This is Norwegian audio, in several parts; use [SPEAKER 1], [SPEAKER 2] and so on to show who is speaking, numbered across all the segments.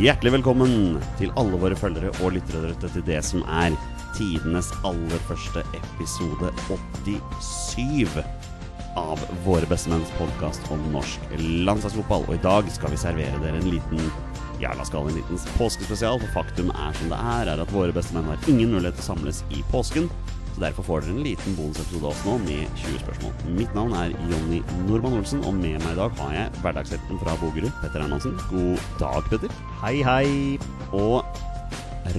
[SPEAKER 1] Hjertelig velkommen til alle våre følgere og lyttere der ute til det som er tidenes aller første episode 87 av Våre bestemenns podkast om norsk landslagsfotball. Og i dag skal vi servere dere en liten ja, la oss kalle det en liten påskespesial, for faktum er som det er, er at våre bestemenn har ingen mulighet til å samles i påsken. Så derfor får dere en liten bonusepisode av oss nå med 20 spørsmål. Mitt navn er Jonny Normann Olsen, og med meg i dag har jeg hverdagshelten fra Bogerud, Petter Hermansen. God dag, Petter.
[SPEAKER 2] Hei, hei.
[SPEAKER 1] Og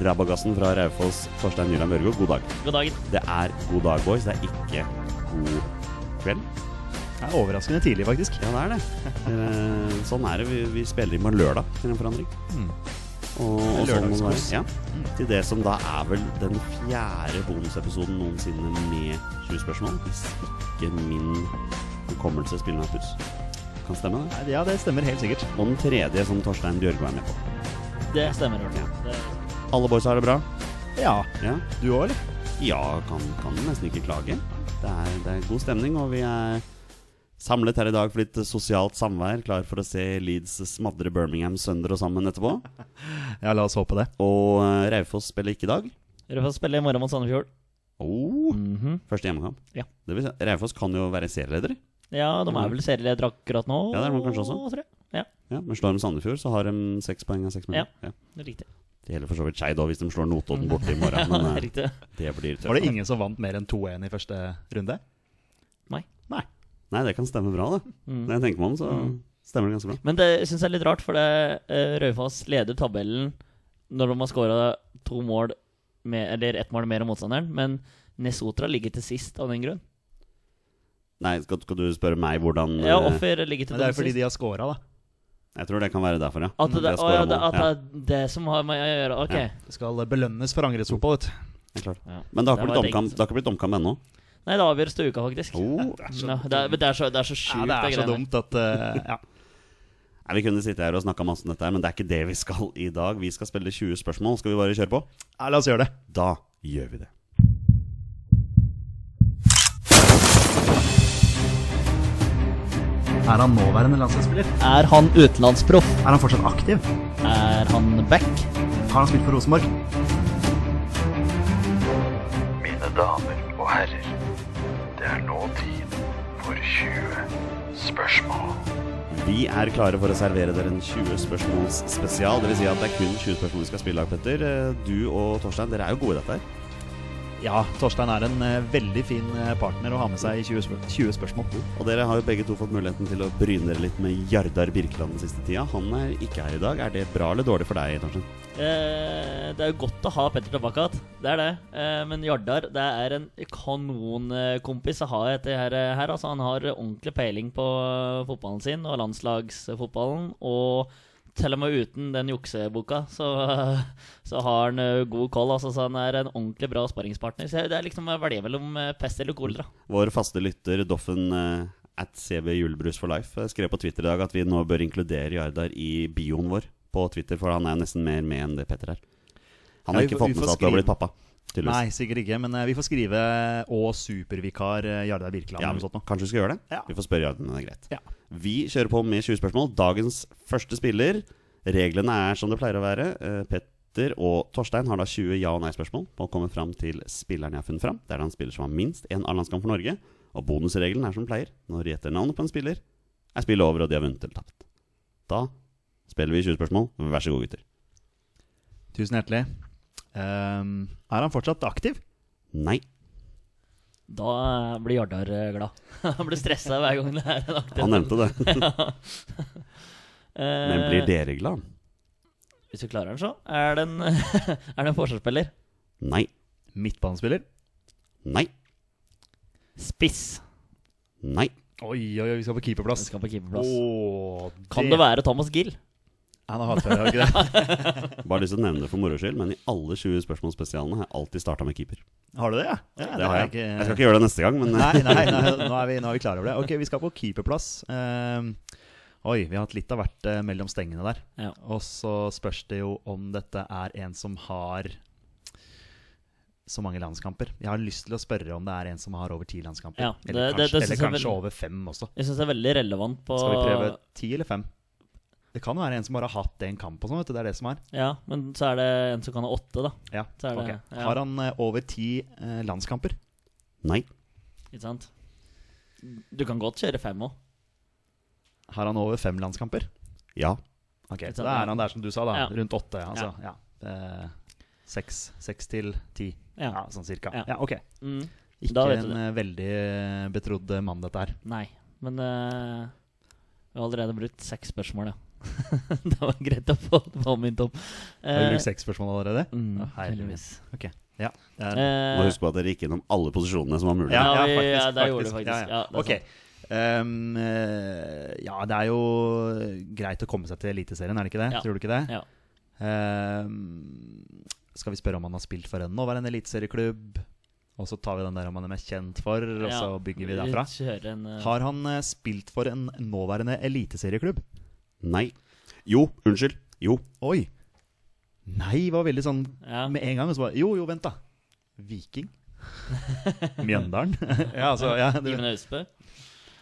[SPEAKER 1] rabagassen fra Raufoss, Torstein Nyland Børgo, god dag.
[SPEAKER 3] God dagen.
[SPEAKER 1] Det er god dag, boys. Det er ikke god kveld.
[SPEAKER 2] Det er overraskende tidlig, faktisk.
[SPEAKER 1] Ja, det er det. Eh, sånn er det. Vi, vi spiller inn på lørdag til en forandring.
[SPEAKER 2] Mm.
[SPEAKER 1] Og, og sånn må det være.
[SPEAKER 2] Lørdagskos.
[SPEAKER 1] Ja. Til det som da er vel den fjerde bonusepisoden noensinne med 20 spørsmål. Hvis ikke min hukommelse spiller meg puss. Kan stemme, det.
[SPEAKER 2] Nei, Ja, det stemmer helt sikkert.
[SPEAKER 1] Og den tredje som Torstein Bjørgo er med på.
[SPEAKER 3] Det stemmer. Ole.
[SPEAKER 1] Ja.
[SPEAKER 3] Det,
[SPEAKER 1] Alle boys har det bra?
[SPEAKER 2] Ja.
[SPEAKER 1] Ja.
[SPEAKER 2] Du òg, eller?
[SPEAKER 1] Ja, kan, kan nesten ikke klage. Det er, det er god stemning, og vi er samlet her i dag for litt sosialt samvær. Klar for å se Leeds smadre Birmingham sønder og sammen etterpå.
[SPEAKER 2] Ja, la oss håpe det.
[SPEAKER 1] Og eh, Raufoss spiller ikke i dag.
[SPEAKER 3] dere får spille i morgen mot Sandefjord.
[SPEAKER 1] Oh,
[SPEAKER 3] Mhm.
[SPEAKER 1] første hjemmekamp.
[SPEAKER 3] Ja.
[SPEAKER 1] Det vil si, Raufoss kan jo være serieleder.
[SPEAKER 3] Ja, de er vel serieledere akkurat nå.
[SPEAKER 1] Ja, det er de kanskje også.
[SPEAKER 3] tror jeg. Ja,
[SPEAKER 1] Ja, men slår de Sandefjord, så har de seks poeng av seks
[SPEAKER 3] Ja.
[SPEAKER 1] minutter. Ja.
[SPEAKER 3] det er riktig.
[SPEAKER 1] Det gjelder for så vidt Skeid òg, hvis de slår Notodden borte i morgen.
[SPEAKER 3] ja,
[SPEAKER 1] Men
[SPEAKER 3] det er
[SPEAKER 1] eh,
[SPEAKER 3] riktig.
[SPEAKER 1] det blir tøft.
[SPEAKER 2] Var det ingen som vant mer enn 2-1 i første runde?
[SPEAKER 3] Nei.
[SPEAKER 2] Nei.
[SPEAKER 1] Nei, det kan stemme bra, det. Når jeg tenker meg om, så stemmer det ganske bra.
[SPEAKER 3] Men det syns jeg er litt rart, for det eh, Raufoss leder tabellen når de har skåra to mål med, eller ett mål mer enn motstanderen, men Nesotra ligger til sist av den grunn.
[SPEAKER 1] Nei, skal, skal du spørre meg hvordan
[SPEAKER 3] Ja,
[SPEAKER 1] eh,
[SPEAKER 3] Offer ligger til
[SPEAKER 2] Men det er jo
[SPEAKER 3] sist.
[SPEAKER 2] fordi de har scora, da.
[SPEAKER 1] Jeg tror det kan være derfor, ja.
[SPEAKER 3] At det,
[SPEAKER 1] De har
[SPEAKER 3] å,
[SPEAKER 1] scoret
[SPEAKER 3] ja, det,
[SPEAKER 1] mål.
[SPEAKER 3] at det er det som har med å gjøre. Ok.
[SPEAKER 1] Ja.
[SPEAKER 2] Det skal belønnes for angrepsfotball, vet du.
[SPEAKER 1] Det er klart.
[SPEAKER 3] Ja.
[SPEAKER 1] Men det har
[SPEAKER 3] Det
[SPEAKER 1] ikke blitt
[SPEAKER 3] var et
[SPEAKER 1] omkamp,
[SPEAKER 3] enkelt-
[SPEAKER 1] det har ikke blitt omkamp ennå.
[SPEAKER 3] Nei, det avgjøres til uka, faktisk.
[SPEAKER 1] Oh.
[SPEAKER 3] Nå, det, er, men det er så, det er så sjukt,
[SPEAKER 2] Ja, det er så
[SPEAKER 3] greiene.
[SPEAKER 2] dumt at eh, Ja.
[SPEAKER 1] Nei, vi kunne sitte her og snakka masse om dette, her, men det er ikke det vi skal i dag. Vi skal spille 20 spørsmål. Skal vi bare kjøre på?
[SPEAKER 2] ja, la oss gjøre det.
[SPEAKER 1] Da gjør vi det.
[SPEAKER 2] Er han nåværende landslagsspiller?
[SPEAKER 3] Er han utenlandsproff?
[SPEAKER 2] Er han fortsatt aktiv?
[SPEAKER 3] Er han back?
[SPEAKER 2] Har han spilt for Rosenborg?
[SPEAKER 4] Mine damer og herrer, det er nå tid for 20 spørsmål.
[SPEAKER 1] Vi er klare for å servere dere en 20 spørsmåls spesial. Det vil si at det er kun 20 spørsmål vi skal spille i dag, Petter. Eh, Du og Torstein, dere er jo gode i dette her.
[SPEAKER 2] Ja, Torstein er en eh, veldig fin eh, partner å ha med seg i 20, spør 20 spørsmål.
[SPEAKER 1] Og dere har jo begge to fått muligheten til å bryne dere litt med Jardar Birkeland den siste tida. Han er ikke her i dag. Er det bra eller dårlig for deg, Torstein?
[SPEAKER 3] Eh, det er jo godt å ha Petter tilbake igjen. Det er det. Eh, men Jardar det er en kanonkompis å ha etter her. her altså, han har ordentlig peiling på eh, fotballen sin og landslagsfotballen. Og til og med uten den jukseboka, så, så har han eh, god koll. Altså, så han er en ordentlig bra sparringspartner. Så det er liksom å velge mellom eh, pest eller kolera.
[SPEAKER 1] Vår faste lytter Doffen eh, at CB Julebrus for life eh, skrev på Twitter i dag at vi nå bør inkludere Jardar i bioen vår på Twitter, for han er jo nesten mer med enn det Petter er. Han har
[SPEAKER 2] Ja, vi
[SPEAKER 1] ikke
[SPEAKER 2] får-
[SPEAKER 1] fått
[SPEAKER 2] vi
[SPEAKER 1] med
[SPEAKER 2] får
[SPEAKER 1] seg at du har
[SPEAKER 2] skrive-
[SPEAKER 1] blitt pappa. tydeligvis.
[SPEAKER 2] Nei, sikkert ikke. Men eh, vi får skrive 'og supervikar eh, Jardar Birkeland'
[SPEAKER 1] Ja,
[SPEAKER 2] eller noe sånt. nå.
[SPEAKER 1] kanskje vi skal gjøre det?
[SPEAKER 2] Ja.
[SPEAKER 1] Vi får spørre Jardar, men det er greit.
[SPEAKER 2] Ja.
[SPEAKER 1] Vi kjører på med 20 spørsmål. Dagens første spiller. Reglene er som det pleier å være. Eh, Petter og Torstein har da 20 ja- og nei-spørsmål på å komme fram til spilleren jeg har funnet fram. Det er da en spiller som har minst én A-landskamp for Norge. Og bonusregelen er som pleier. Når de gjetter navnet på en spiller, er spillet over, og de har vunnet eller tapt. Da spiller vi 20 spørsmål. Vær så god, gutter.
[SPEAKER 2] Tusen hjertelig. Ehm, er han fortsatt aktiv?
[SPEAKER 1] Nei.
[SPEAKER 3] Da eh, blir Jardar eh, glad. Han blir stressa hver gang det er en aktiv
[SPEAKER 1] Han nevnte det.
[SPEAKER 3] Eh,
[SPEAKER 1] Men blir dere glad?
[SPEAKER 3] Hvis du klarer den, så. Er det en, er det en forsvarsspiller?
[SPEAKER 1] Nei.
[SPEAKER 2] Midtbanespiller?
[SPEAKER 1] Nei.
[SPEAKER 3] Spiss.
[SPEAKER 1] Nei.
[SPEAKER 2] Oi, oi, oi, vi skal på
[SPEAKER 3] Vi
[SPEAKER 2] keeperplass.
[SPEAKER 3] skal på keeperplass.
[SPEAKER 2] Oh, Åh,
[SPEAKER 3] Kan det være Thomas Gill?
[SPEAKER 2] Han har hatt det, ikke det?
[SPEAKER 1] Bare lyst til å nevne det for moro skyld, men i alle 20 spørsmålspesialene har jeg alltid starta med keeper.
[SPEAKER 2] Har du det, ja? ja
[SPEAKER 1] Det har jeg.
[SPEAKER 2] er ikke-
[SPEAKER 1] Jeg skal ikke gjøre det neste gang, men eh,
[SPEAKER 2] Nei, nei, nei nå, er vi, nå er vi klar over det. Ok, vi skal på keeperplass. Ehm, oi, vi har hatt litt av hvert eh, mellom stengene der.
[SPEAKER 3] Ja.
[SPEAKER 2] Og så spørs det jo om dette er en som har så mange landskamper. Jeg har lyst til å spørre om det er en som har over ti landskamper.
[SPEAKER 3] Ja,
[SPEAKER 2] eller
[SPEAKER 3] det-
[SPEAKER 2] kanskje,
[SPEAKER 3] det- det synes
[SPEAKER 2] eller
[SPEAKER 3] jeg
[SPEAKER 2] kanskje
[SPEAKER 3] vel-
[SPEAKER 2] over fem også.
[SPEAKER 3] Jeg syns det er veldig relevant på
[SPEAKER 2] Skal vi prøve ti eller fem? Det kan jo være en som bare har hatt én kamp og sånn, vet du. Det er det som er.
[SPEAKER 3] Ja, men så er det en som kan ha åtte, da.
[SPEAKER 2] Ja,
[SPEAKER 3] Så er det-
[SPEAKER 2] ok.
[SPEAKER 3] ja.
[SPEAKER 2] Har han eh, over ti eh, landskamper?
[SPEAKER 1] Nei.
[SPEAKER 3] Ikke sant? Du kan godt kjøre fem òg.
[SPEAKER 2] Har han over fem landskamper?
[SPEAKER 1] Ja.
[SPEAKER 2] Ok,
[SPEAKER 3] Ikke
[SPEAKER 2] så da
[SPEAKER 3] sant, sånn, ja.
[SPEAKER 2] er han der som du sa, da.
[SPEAKER 3] Ja.
[SPEAKER 2] Rundt åtte. Altså. Ja. Eh, Seks seks til ti. Ja.
[SPEAKER 3] Ja.
[SPEAKER 2] sånn cirka.
[SPEAKER 3] Ja.
[SPEAKER 2] Ja, ok.
[SPEAKER 3] Mm.
[SPEAKER 2] Ikke
[SPEAKER 3] Da vet du
[SPEAKER 2] en eh, veldig eh, betrodd eh, mann, dette her.
[SPEAKER 3] Nei. Men eh, vi har allerede brukt seks spørsmål, ja. det var greit å få påminnet om.
[SPEAKER 2] Har
[SPEAKER 3] Eh,
[SPEAKER 2] vi brukt seks spørsmål allerede?
[SPEAKER 3] mm,
[SPEAKER 2] Å,
[SPEAKER 3] heldigvis.
[SPEAKER 2] heldigvis. Ok, ja. Det er,
[SPEAKER 1] Må
[SPEAKER 3] Eh,
[SPEAKER 1] huske på at dere gikk gjennom alle posisjonene som var mulig.
[SPEAKER 3] Ja. vi- ja, det gjorde vi faktisk. Ja, det er
[SPEAKER 2] ok. Um, eh, ja, det er jo greit å komme seg til Eliteserien, er det ikke det?
[SPEAKER 3] Ja.
[SPEAKER 2] Tror du ikke det?
[SPEAKER 3] ja.
[SPEAKER 2] Um, skal vi spørre om han har spilt for en nåværende eliteserieklubb? Og så tar vi den der om han er mest kjent for, og
[SPEAKER 3] ja.
[SPEAKER 2] så bygger vi derfra.
[SPEAKER 3] Vi kjører en, eh,
[SPEAKER 2] Har han eh, spilt for en nåværende eliteserieklubb?
[SPEAKER 1] Nei. Jo, unnskyld. Jo.
[SPEAKER 2] Oi! Nei, var veldig sånn
[SPEAKER 3] ja.
[SPEAKER 2] med en gang. Og så bare Jo, jo, vent, da. Viking? Mjøndalen? ja, altså, ja, du,
[SPEAKER 3] Iben Austbø.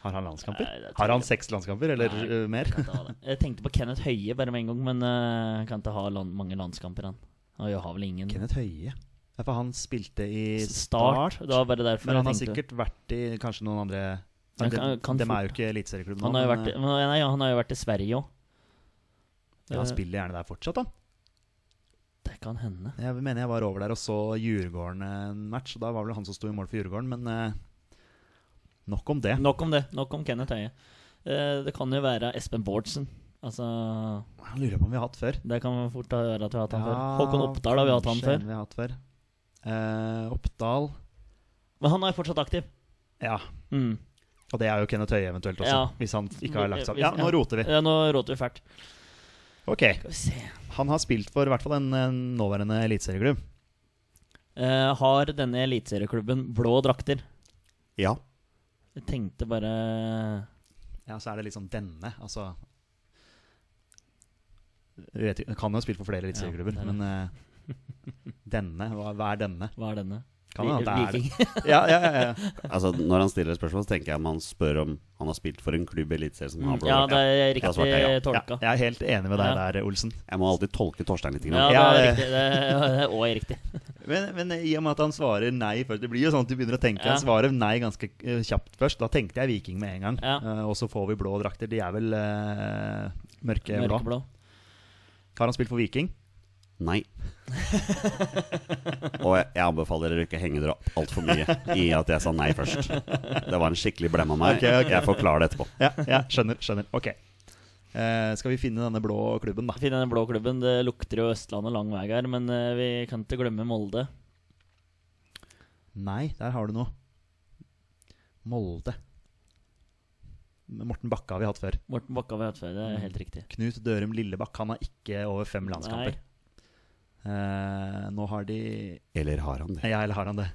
[SPEAKER 2] har han landskamper?
[SPEAKER 3] Nei, det tror
[SPEAKER 2] har han
[SPEAKER 3] jeg-
[SPEAKER 2] seks landskamper, eller
[SPEAKER 3] Nei.
[SPEAKER 2] eh, mer?
[SPEAKER 3] Kan ikke ha det. Jeg tenkte på Kenneth Høie bare med en gang, men eh, kan ikke ha land, mange landskamper, han. Og jeg har vel ingen
[SPEAKER 2] Kenneth Høie. Ja, for han spilte i
[SPEAKER 3] start.
[SPEAKER 2] Start.
[SPEAKER 3] Det var bare derfor
[SPEAKER 2] Men han har
[SPEAKER 3] jeg tenkte
[SPEAKER 2] sikkert vært i kanskje noen andre Nei,
[SPEAKER 3] Han
[SPEAKER 2] de,
[SPEAKER 3] kan- kan
[SPEAKER 2] Dem
[SPEAKER 3] fort-
[SPEAKER 2] er jo ikke eliteserieklubben
[SPEAKER 3] han har, jo
[SPEAKER 2] men,
[SPEAKER 3] vært, i- men, nei, han har jo vært i Sverige òg.
[SPEAKER 2] eh, ja, han spiller gjerne der fortsatt, da.
[SPEAKER 3] Det kan hende.
[SPEAKER 2] Jeg mener jeg var over der og så Djurgården eh, en match, og da var vel han som sto i mål for Djurgården, men eh, nok om det.
[SPEAKER 3] Nok om det. Nok om Kenneth Høie. Eh, det kan jo være Espen Bårdsen. Altså
[SPEAKER 2] Jeg lurer på om vi har hatt før.
[SPEAKER 3] Det kan fort være at vi har hatt han før.
[SPEAKER 2] Ja,
[SPEAKER 3] Håkon Oppdal har vi hatt han
[SPEAKER 2] kanskje
[SPEAKER 3] før.
[SPEAKER 2] en Vi har hatt før. Eh, Oppdal
[SPEAKER 3] Men han er fortsatt aktiv.
[SPEAKER 2] Ja.
[SPEAKER 3] Mm.
[SPEAKER 2] Og det er jo Kenneth Høie eventuelt også,
[SPEAKER 3] Ja.
[SPEAKER 2] hvis han ikke har lagt seg opp.
[SPEAKER 3] Hvis-
[SPEAKER 2] Ja, nå
[SPEAKER 3] ja.
[SPEAKER 2] roter vi.
[SPEAKER 3] Ja, nå råter vi fælt.
[SPEAKER 2] Ok.
[SPEAKER 3] Skal vi se
[SPEAKER 2] Han har spilt for i hvert fall en, en nåværende eliteserieklubb.
[SPEAKER 3] Eh, Har denne eliteserieklubben blå drakter?
[SPEAKER 1] Ja.
[SPEAKER 3] Jeg tenkte bare
[SPEAKER 2] Ja, så er det liksom denne, altså Jeg vet ikke, Kan jo ha spilt for flere eliteserieklubber,
[SPEAKER 3] Ja, det er det.
[SPEAKER 2] men eh, denne hva, hva er denne?
[SPEAKER 3] Hva er denne?
[SPEAKER 2] Kan hende at
[SPEAKER 3] Vi-
[SPEAKER 2] det er
[SPEAKER 3] Viking.
[SPEAKER 2] det. Ja, ja, ja, ja.
[SPEAKER 1] Altså, når han stiller et spørsmål, så tenker jeg om han spør om han har spilt for en klubb i Eliteserien som har blå
[SPEAKER 3] Mm, Ja,
[SPEAKER 1] drakt.
[SPEAKER 3] det er
[SPEAKER 1] Ja, svarte, ja.
[SPEAKER 3] riktig tolka.
[SPEAKER 2] Jeg er helt enig med deg
[SPEAKER 3] Ja.
[SPEAKER 2] der, Olsen.
[SPEAKER 1] Jeg må alltid tolke Torstein litt.
[SPEAKER 3] Ja,
[SPEAKER 1] Grann.
[SPEAKER 3] det er
[SPEAKER 2] Ja,
[SPEAKER 3] riktig. Det er og er riktig.
[SPEAKER 2] Men, men i og med at han svarer nei først Det blir jo sånn at du begynner å tenke.
[SPEAKER 3] Ja.
[SPEAKER 2] Han svarer nei ganske eh, kjapt først. Da tenkte jeg Viking med en gang.
[SPEAKER 3] Ja.
[SPEAKER 2] Eh, og så får vi blå drakter. De er vel eh, mørkeblå.
[SPEAKER 3] Mørkeblå.
[SPEAKER 2] Har han spilt for Viking?
[SPEAKER 1] Nei. Og jeg, jeg anbefaler dere ikke å henge dere opp altfor mye i at jeg sa nei først. Det var en skikkelig blem av meg.
[SPEAKER 2] Ok, ok.
[SPEAKER 1] Jeg forklarer det etterpå.
[SPEAKER 2] Ja, ja skjønner. skjønner Ok. Eh, skal vi finne denne blå klubben, da?
[SPEAKER 3] Finn den blå klubben. Det lukter jo Østlandet lang vei her, men eh, vi kan ikke glemme Molde.
[SPEAKER 2] Nei, der har du noe. Molde. Morten Bakke har vi hatt før.
[SPEAKER 3] Morten Bakka ved Høtfjell, det
[SPEAKER 2] Mm.
[SPEAKER 3] er helt riktig.
[SPEAKER 2] Knut Dørum Lillebakk han har ikke over fem landskamper. Eh, nå har de
[SPEAKER 1] Eller har han det?
[SPEAKER 2] Ja, eller har han det?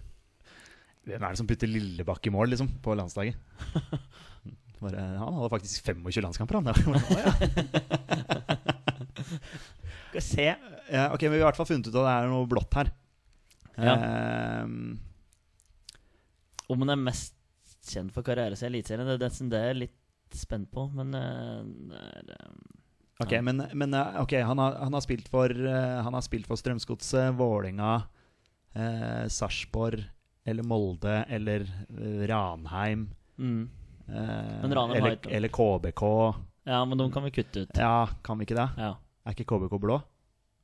[SPEAKER 2] Hvem er det som putter Lillebakk i mål, liksom, på landslaget? Bare, han hadde faktisk 25 landskamper, han. Å, ja.
[SPEAKER 3] Skal vi se.
[SPEAKER 2] ja, ok, men vi har i hvert fall funnet ut at det er noe blått her.
[SPEAKER 3] Ja.
[SPEAKER 2] Ehm,
[SPEAKER 3] Om hun er mest kjent for karriere i Eliteserien, det er det som det er jeg litt spent på, men eh, det er, eh,
[SPEAKER 2] ok,
[SPEAKER 3] Ja.
[SPEAKER 2] men, men eh, ok, han har, han har spilt for eh, Han har spilt for Strømsgodset, Vålinga, eh, Sarpsborg eller Molde eller eh, Ranheim.
[SPEAKER 3] mm.
[SPEAKER 2] eh,
[SPEAKER 3] Men Ranheim har
[SPEAKER 2] eller,
[SPEAKER 3] ikke-
[SPEAKER 2] eller KBK.
[SPEAKER 3] Ja, men de kan vi kutte ut.
[SPEAKER 2] Ja, kan vi ikke det?
[SPEAKER 3] Ja.
[SPEAKER 2] Er ikke KBK blå?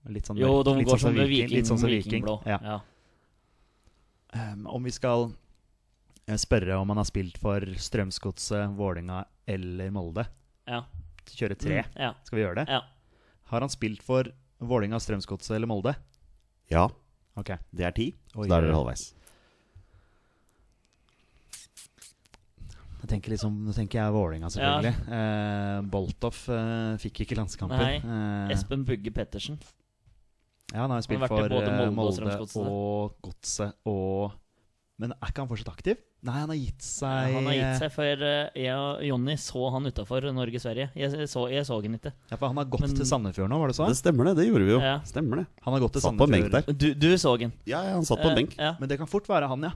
[SPEAKER 2] Litt sånn
[SPEAKER 3] Jo,
[SPEAKER 2] mørkt,
[SPEAKER 3] de
[SPEAKER 2] litt
[SPEAKER 3] går
[SPEAKER 2] sånn
[SPEAKER 3] som viking,
[SPEAKER 2] litt sånn som viking.
[SPEAKER 3] vikingblå.
[SPEAKER 2] Ja.
[SPEAKER 3] Ja.
[SPEAKER 2] Um, om vi skal eh, spørre om han har spilt for Strømsgodset, Vålinga eller Molde
[SPEAKER 3] Ja.
[SPEAKER 2] Kjøre tre.
[SPEAKER 3] Mm, Ja.
[SPEAKER 2] Skal vi gjøre det?
[SPEAKER 3] Ja.
[SPEAKER 2] Har han spilt for Vålinga, Strømsgodset eller Molde?
[SPEAKER 1] Ja,
[SPEAKER 2] Ok.
[SPEAKER 1] det er ti. Så
[SPEAKER 2] Oi.
[SPEAKER 1] da er dere halvveis.
[SPEAKER 2] Jeg tenker liksom, nå tenker jeg Vålinga, selvfølgelig. Eh, Boltoff eh, fikk ikke landskamper.
[SPEAKER 3] Nei.
[SPEAKER 2] Eh,
[SPEAKER 3] Espen Bugge Pettersen.
[SPEAKER 2] ja, han har jo
[SPEAKER 3] Han har
[SPEAKER 2] spilt
[SPEAKER 3] vært i
[SPEAKER 2] for
[SPEAKER 3] både
[SPEAKER 2] eh,
[SPEAKER 3] Molde og
[SPEAKER 2] Molde
[SPEAKER 3] Strømsgodset.
[SPEAKER 2] og Godset og Men er ikke han fortsatt aktiv? Nei, han har gitt seg
[SPEAKER 3] Han har gitt seg, for eh, jeg og Jonny så han utafor Norge-Sverige. Jeg så, jeg så han ikke.
[SPEAKER 2] Ja, for han har gått
[SPEAKER 3] Men-
[SPEAKER 2] til Sandefjord nå, var det så?
[SPEAKER 1] Det stemmer, det. Det gjorde vi jo.
[SPEAKER 3] Ja.
[SPEAKER 1] Stemmer det.
[SPEAKER 2] Han har gått til
[SPEAKER 1] Satt på en benk
[SPEAKER 2] Sandefjord.
[SPEAKER 1] der.
[SPEAKER 3] Du, du så han.
[SPEAKER 1] Ja, ja, han satt på en
[SPEAKER 3] Eh,
[SPEAKER 1] benk.
[SPEAKER 3] Ja.
[SPEAKER 2] Men det kan fort være han, ja.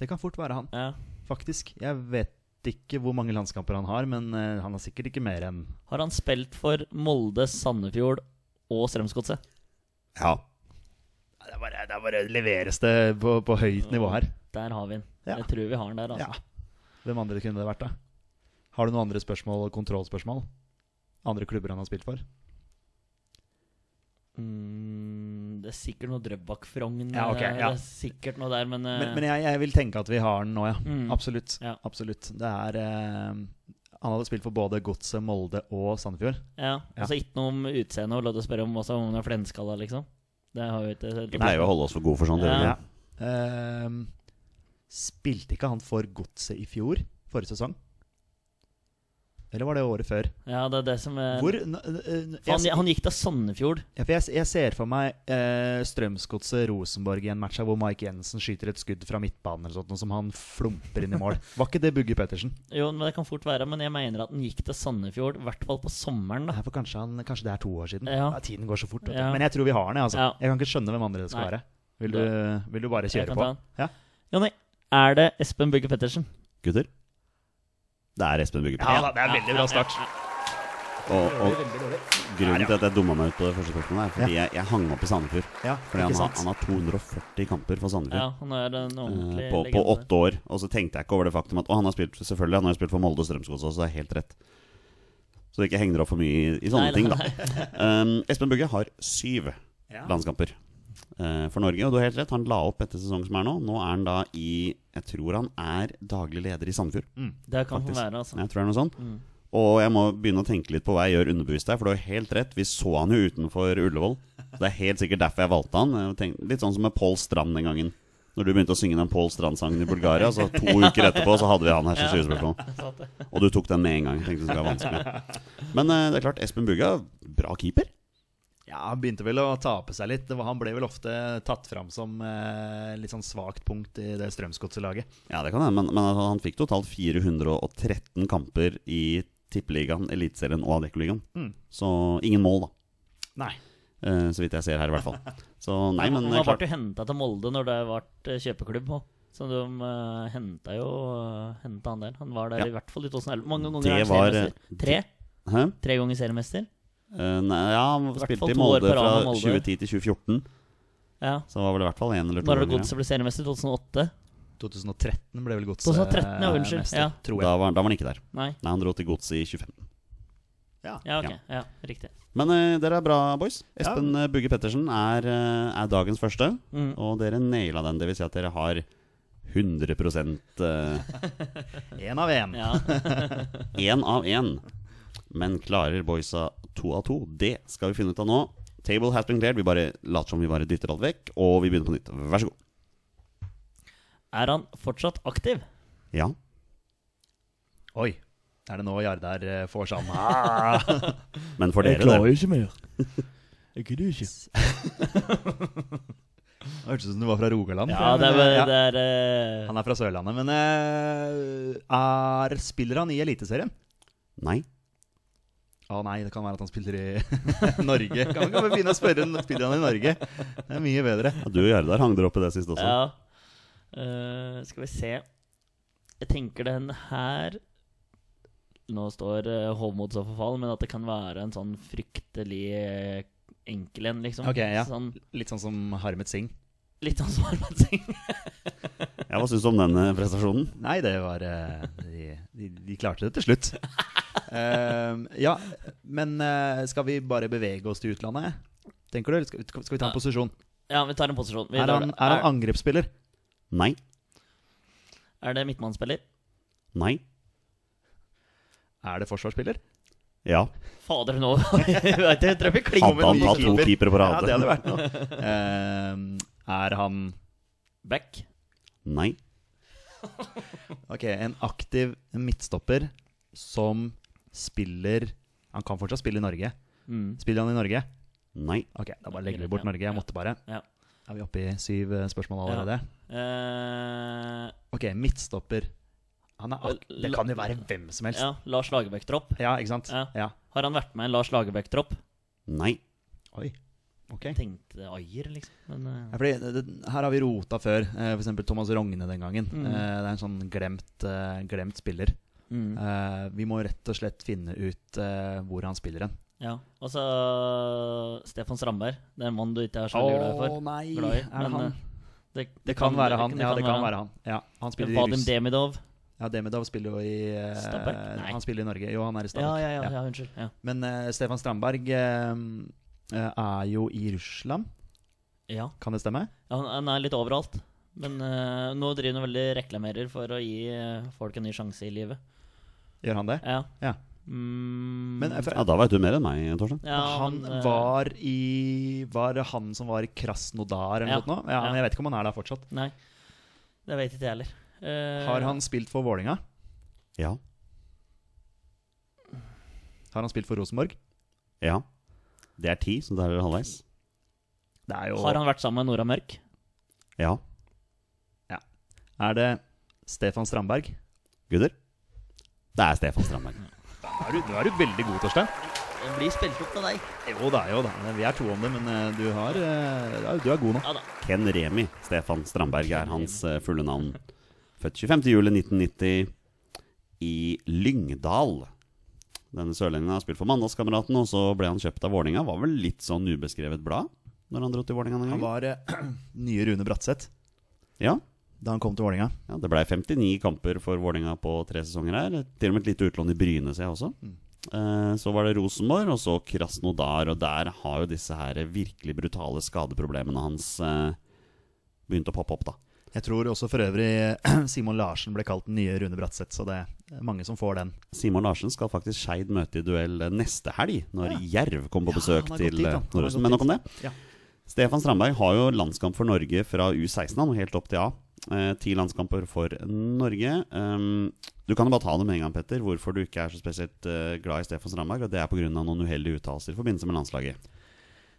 [SPEAKER 2] Det kan fort være han,
[SPEAKER 3] Ja.
[SPEAKER 2] faktisk. Jeg vet ikke hvor mange landskamper han har, men eh, han har sikkert ikke mer enn
[SPEAKER 3] Har han spilt for Molde, Sandefjord og Strømsgodset?
[SPEAKER 1] Ja.
[SPEAKER 2] Det er bare, det er bare leveres det på, på høyt nivå her.
[SPEAKER 3] Der har vi den.
[SPEAKER 2] Ja.
[SPEAKER 3] Jeg tror vi har den der.
[SPEAKER 2] Ja.
[SPEAKER 3] Altså.
[SPEAKER 2] Hvem andre kunne det vært, da? Har du noen andre spørsmål, kontrollspørsmål? Andre klubber han har spilt for?
[SPEAKER 3] Mm, det er sikkert noe Drøbak-Frogn. eh,
[SPEAKER 2] Ja, ok, ja.
[SPEAKER 3] Det er sikkert noe der, men, eh,
[SPEAKER 2] Men, men jeg, jeg vil tenke at vi har den nå, ja.
[SPEAKER 3] Mm.
[SPEAKER 2] Absolutt.
[SPEAKER 3] Ja.
[SPEAKER 2] Absolutt. Det er eh, Han hadde spilt for både Godset, Molde og Sandefjord.
[SPEAKER 3] ja.
[SPEAKER 2] Ja.
[SPEAKER 3] Altså ikke noe om utseendet og lov til å spørre om også om han er flenskalla, liksom. Det har vi ikke
[SPEAKER 1] Vi pleier jo å holde oss for gode for sånt. gjør vi
[SPEAKER 3] Ja.
[SPEAKER 1] ikke?
[SPEAKER 2] Eh, spilte ikke han for Godset i fjor? Forrige sesong? Eller var det året før?
[SPEAKER 3] Ja, det er det som er
[SPEAKER 2] Hvor n- n- n-
[SPEAKER 3] Eh, For han,
[SPEAKER 2] jeg-
[SPEAKER 3] han gikk til Sandefjord.
[SPEAKER 2] Ja, for jeg, jeg ser for meg eh, Strømsgodset-Rosenborg i en match her hvor Mike Jensen skyter et skudd fra midtbanen eller sånt, noe som han flumper inn i mål. Var ikke det Bugge Pettersen?
[SPEAKER 3] Jo, men det kan fort være, men jeg mener at han gikk til Sandefjord, i hvert fall på sommeren, da.
[SPEAKER 2] Nei, for kanskje, han, kanskje det er to år siden.
[SPEAKER 3] Ja.
[SPEAKER 2] tiden går så fort. vet du.
[SPEAKER 3] Ja.
[SPEAKER 2] Men jeg tror vi har den. jeg, Altså.
[SPEAKER 3] Ja.
[SPEAKER 2] Jeg kan ikke skjønne hvem andre det skal
[SPEAKER 3] Nei.
[SPEAKER 2] være. Vil du, vil du bare
[SPEAKER 3] Jeg
[SPEAKER 2] kjøre
[SPEAKER 3] kan
[SPEAKER 2] på?
[SPEAKER 3] ta den.
[SPEAKER 2] Ja.
[SPEAKER 3] Jonny, er det Espen Bugge Pettersen?
[SPEAKER 1] Gutter? Det er Espen Bugge.
[SPEAKER 2] da, det er en veldig bra start.
[SPEAKER 1] Og, og grunnen til at jeg dumma meg ut på det første spørsmålet, er fordi jeg, jeg hang meg opp i Sandefjord.
[SPEAKER 2] Ja,
[SPEAKER 1] Fordi han
[SPEAKER 2] ikke
[SPEAKER 1] har,
[SPEAKER 2] sant?
[SPEAKER 1] han har 240 kamper for Sandefjord.
[SPEAKER 3] Ja, han er en ordentlig
[SPEAKER 1] Eh, på, på
[SPEAKER 3] legende.
[SPEAKER 1] åtte år. Og så tenkte jeg ikke over det faktum at Å, han har spilt Selvfølgelig, han har jo spilt for Molde og Strømsgodset også, så det er helt rett. Så det ikke henger opp for mye i, i sånne
[SPEAKER 3] Nei,
[SPEAKER 1] ting,
[SPEAKER 3] nei,
[SPEAKER 1] da. Um, Espen Bugge har syv landskamper eh, for Norge, og du har helt rett. Han la opp etter sesongen som er nå. Nå er han da i Jeg tror han er daglig leder i Sandefjord.
[SPEAKER 3] Det kan
[SPEAKER 1] Faktisk.
[SPEAKER 3] få være, altså.
[SPEAKER 1] Jeg tror det er noe sånt.
[SPEAKER 3] Mm.
[SPEAKER 1] Og jeg må begynne å tenke litt på hva jeg gjør underbevisst der, for du har helt rett. Vi så han jo utenfor Ullevål. Så det er helt sikkert derfor jeg valgte han. Jeg tenkte, litt sånn som med Pål Strand den gangen. Når du begynte å synge den Pål Strand-sangen i Bulgaria, så to uker etterpå så hadde vi han her som styresspørsmål.
[SPEAKER 3] Sant det.
[SPEAKER 1] Og du tok den med en gang. Tenkte det skulle være vanskelig. Men eh, det er klart, Espen Bugge, bra keeper.
[SPEAKER 2] Ja, han begynte vel å tape seg litt. Det var, han ble vel ofte tatt fram som eh, litt sånn svakt punkt i det Strømsgodset-laget.
[SPEAKER 1] Ja, det kan hende, men, men han fikk totalt 413 kamper i Tippeligaen, Eliteserien og Adeccoligaen.
[SPEAKER 2] Mm.
[SPEAKER 1] Så ingen mål, da.
[SPEAKER 2] Nei.
[SPEAKER 1] Eh, Så vidt jeg ser her, i hvert fall. Så nei, men
[SPEAKER 3] Han
[SPEAKER 1] det er
[SPEAKER 3] ble
[SPEAKER 1] klart
[SPEAKER 3] jo henta til Molde når det ble kjøpeklubb òg. Så de uh, henta jo eh, hentet han der. Han var der
[SPEAKER 1] Ja.
[SPEAKER 3] i hvert fall i 2011. Mange ganger
[SPEAKER 1] Det
[SPEAKER 3] er han
[SPEAKER 1] var,
[SPEAKER 3] seriemester.
[SPEAKER 1] eh,
[SPEAKER 3] Tre?
[SPEAKER 1] Hæ?
[SPEAKER 3] Tre ganger seriemester?
[SPEAKER 1] Eh, nei, ja, han
[SPEAKER 3] hvert
[SPEAKER 1] spilte
[SPEAKER 3] fall
[SPEAKER 1] i
[SPEAKER 3] to år
[SPEAKER 1] Molde
[SPEAKER 3] på rad
[SPEAKER 1] fra
[SPEAKER 3] med Molde.
[SPEAKER 1] 2010 til 2014.
[SPEAKER 3] Ja.
[SPEAKER 1] Så det var vel i hvert fall én eller to
[SPEAKER 3] Når har det
[SPEAKER 1] ganger,
[SPEAKER 3] Godset ble seriemester? 2008?
[SPEAKER 2] 2013 ble vel Godset
[SPEAKER 3] 2013, ja,
[SPEAKER 2] eh,
[SPEAKER 3] unnskyld.
[SPEAKER 2] mester,
[SPEAKER 3] Ja.
[SPEAKER 1] ja.
[SPEAKER 2] tror
[SPEAKER 1] da,
[SPEAKER 2] jeg.
[SPEAKER 1] var, da var han ikke der.
[SPEAKER 3] Nei?
[SPEAKER 1] Nei, han dro til godset i 25.
[SPEAKER 3] Ja, ok.
[SPEAKER 1] Ja.
[SPEAKER 3] Ja, riktig.
[SPEAKER 1] Men eh, dere er bra, boys.
[SPEAKER 2] Ja.
[SPEAKER 1] Espen eh, Bugge Pettersen er, eh, er dagens første.
[SPEAKER 3] Mm.
[SPEAKER 1] Og dere naila den. Det vil si at dere har eh, 100
[SPEAKER 2] En av en.
[SPEAKER 3] Ja.
[SPEAKER 1] én av én. Men klarer boysa to av to? Det skal vi finne ut av nå. Table has been cleared. Vi bare later som vi bare dytter alt vekk, og vi begynner på nytt. Vær så god.
[SPEAKER 3] Er han fortsatt aktiv?
[SPEAKER 1] Ja.
[SPEAKER 2] Oi. Er det nå Jardar eh, får sånn ah.
[SPEAKER 1] Men for dere, dere.
[SPEAKER 5] ikke mer. Jeg gidder ikke.
[SPEAKER 2] Hørtes ut som du var fra Rogaland.
[SPEAKER 3] Ja, det er,
[SPEAKER 2] Ja.
[SPEAKER 3] det er eh,
[SPEAKER 2] Han er fra Sørlandet, men eh, er, spiller han i Eliteserien?
[SPEAKER 1] Nei.
[SPEAKER 2] Å nei, det kan være at han spiller i Norge. Kan man kan man begynne å spørre om spiller han i Norge? Det er mye bedre.
[SPEAKER 1] Ja, du og Jardar hang dere opp i det
[SPEAKER 2] sånn.
[SPEAKER 1] sist også.
[SPEAKER 3] Ja. Eh, skal vi se Jeg tenker den her Nå står eh, hovmod så for fall, men at det kan være en sånn fryktelig eh, enkel en, liksom.
[SPEAKER 2] Ok, ja.
[SPEAKER 3] sånn,
[SPEAKER 2] Litt sånn som Harmet Singh.
[SPEAKER 3] litt sånn som Arman Singh.
[SPEAKER 1] Ja, Hva syns du om den eh, prestasjonen?
[SPEAKER 2] Nei, det var eh, de, de, de klarte det til slutt. Ehm, ja, men eh, skal vi bare bevege oss til utlandet? Tenker du, eller skal, skal vi ta en posisjon?
[SPEAKER 3] Ja, vi tar en posisjon. Vi
[SPEAKER 2] Er
[SPEAKER 3] tar
[SPEAKER 2] han,
[SPEAKER 3] det.
[SPEAKER 2] er han angrepsspiller?
[SPEAKER 1] Nei.
[SPEAKER 3] er, er det midtmannsspiller?
[SPEAKER 1] Nei.
[SPEAKER 2] Er det forsvarsspiller?
[SPEAKER 1] Ja.
[SPEAKER 3] Fader, nå Jeg vet ikke, jeg tror vi klinger
[SPEAKER 1] Hadde
[SPEAKER 3] med
[SPEAKER 1] han
[SPEAKER 3] en ny
[SPEAKER 1] hatt to
[SPEAKER 3] keeper.
[SPEAKER 1] keepere på
[SPEAKER 2] Ja, det
[SPEAKER 1] rad?
[SPEAKER 2] hadde vært noe. Ehm, er han
[SPEAKER 3] Back.
[SPEAKER 1] Nei.
[SPEAKER 2] Ok, en aktiv midtstopper som spiller Han kan fortsatt spille i Norge.
[SPEAKER 3] Mm.
[SPEAKER 2] Spiller han i Norge?
[SPEAKER 1] Nei.
[SPEAKER 2] Ok, da bare legger vi bort Norge. Jeg måtte bare.
[SPEAKER 3] Ja.
[SPEAKER 2] Er vi oppe i syv eh, spørsmål allerede?
[SPEAKER 3] Eh,
[SPEAKER 2] Ok, midtstopper. Han er ak det kan jo være hvem som helst.
[SPEAKER 3] ja, Lars Lagerbäck-tropp.
[SPEAKER 2] Ja, ikke sant?
[SPEAKER 3] Ja.
[SPEAKER 2] Ja.
[SPEAKER 3] Har han vært med i en Lars Lagerbäck-tropp?
[SPEAKER 1] Nei.
[SPEAKER 2] Oi. Ok. Ja,
[SPEAKER 3] Tenkte Ayer, liksom. Men, eh,
[SPEAKER 2] fordi det, det- her har vi rota før. eh, For eksempel Thomas Rogne den gangen.
[SPEAKER 3] Mm.
[SPEAKER 2] Eh, Det er en sånn glemt, eh, glemt spiller.
[SPEAKER 3] Mm.
[SPEAKER 2] Eh, vi må rett og slett finne ut eh, hvor han spiller hen.
[SPEAKER 3] Ja. Og så øh, Stefan Strandberg. Det er en mann du ikke er så veldig glad for.
[SPEAKER 2] Å nei!
[SPEAKER 3] Glad i,
[SPEAKER 2] Er det
[SPEAKER 3] men,
[SPEAKER 2] han?
[SPEAKER 3] eh, Det,
[SPEAKER 2] Det kan være han. Ja, det kan være han. Ja, han spiller i
[SPEAKER 3] Vadim
[SPEAKER 2] Russ.
[SPEAKER 3] Demidov.
[SPEAKER 2] Ja, Demidov spiller jo i eh,
[SPEAKER 3] Stabæk? Nei.
[SPEAKER 2] Han spiller i Norge. Jo, han er i
[SPEAKER 3] Ja,
[SPEAKER 2] Stabæk.
[SPEAKER 3] ja, ja,
[SPEAKER 2] Ja.
[SPEAKER 3] ja, unnskyld. Ja.
[SPEAKER 2] Men eh, Stefan Strandberg eh, eh, er jo i Russland,
[SPEAKER 3] ja.
[SPEAKER 2] kan det stemme?
[SPEAKER 3] Ja, Han, han er litt overalt. Men eh, nå driver han veldig reklamerer for å gi eh, folk en ny sjanse i livet.
[SPEAKER 2] Gjør han det?
[SPEAKER 3] Ja.
[SPEAKER 2] Ja.
[SPEAKER 3] Mm,
[SPEAKER 2] Men eh, for,
[SPEAKER 1] Ja, da veit du mer enn meg, Torstein.
[SPEAKER 3] ja,
[SPEAKER 2] han
[SPEAKER 3] men, eh,
[SPEAKER 2] var i Var det han som var i Krasnodar eller
[SPEAKER 3] Ja,
[SPEAKER 2] noe sånt? nå? Ja,
[SPEAKER 3] ja.
[SPEAKER 2] Men jeg vet ikke om han er der fortsatt.
[SPEAKER 3] Nei. Det vet ikke jeg heller. Eh,
[SPEAKER 2] Har han spilt for Vålinga?
[SPEAKER 1] Ja.
[SPEAKER 2] Har han spilt for Rosenborg?
[SPEAKER 1] Ja. Det er ti, så der er det halvveis.
[SPEAKER 2] Det er jo
[SPEAKER 3] har han vært sammen med Nora Mørk?
[SPEAKER 1] Ja.
[SPEAKER 2] Er det Stefan Strandberg?
[SPEAKER 1] Gutter? Det er Stefan Strandberg.
[SPEAKER 2] Nå er du, nå er du veldig god, Torstein.
[SPEAKER 3] Den blir spilt opp av deg.
[SPEAKER 2] Jo da, jo da. Vi er to om det, men eh, du, har, eh, ja, du er god nå.
[SPEAKER 3] Ja da.
[SPEAKER 1] Ken Remi Stefan Strandberg er hans eh, fulle navn. Født 25. juli 1990 i Lyngdal. Denne sørlendingen har spilt for Mandalskameratene, og så ble han kjøpt av Vålinga. Var vel litt sånn ubeskrevet blad når han dro til Vålinga den
[SPEAKER 2] Han
[SPEAKER 1] gangen.
[SPEAKER 2] var eh, nye Rune Bratseth
[SPEAKER 1] Ja,
[SPEAKER 2] da han kom til Vålinga.
[SPEAKER 1] ja Det blei 59 kamper for Vålinga på tre sesonger her. Til og med et lite utlån i Bryne, ser jeg også. Eh, Så var det Rosenborg, og så Krasnodar. Og der har jo disse her virkelig brutale skadeproblemene hans eh, begynt å poppe opp, da.
[SPEAKER 2] Jeg tror også for øvrig Simon Larsen ble kalt den nye Rune Bratseth, så det er mange som får den.
[SPEAKER 1] Simon Larsen skal faktisk Skeid møte i duell neste helg, når Jerv kommer på
[SPEAKER 2] Ja,
[SPEAKER 1] besøk
[SPEAKER 2] han har gått
[SPEAKER 1] til
[SPEAKER 2] dit, ja. Han har
[SPEAKER 1] Nordøsten.
[SPEAKER 2] gått
[SPEAKER 1] Men nok om det.
[SPEAKER 2] dit. Ja.
[SPEAKER 1] Stefan Strandberg har jo landskamp for Norge fra U16 han, og helt opp til A. Eh, ti landskamper for Norge. Um, du kan jo bare ta det med en gang, Petter, hvorfor du ikke er så spesielt eh, glad i Stefan Strandberg. Og det er pga. noen uheldige uttalelser i forbindelse med landslaget.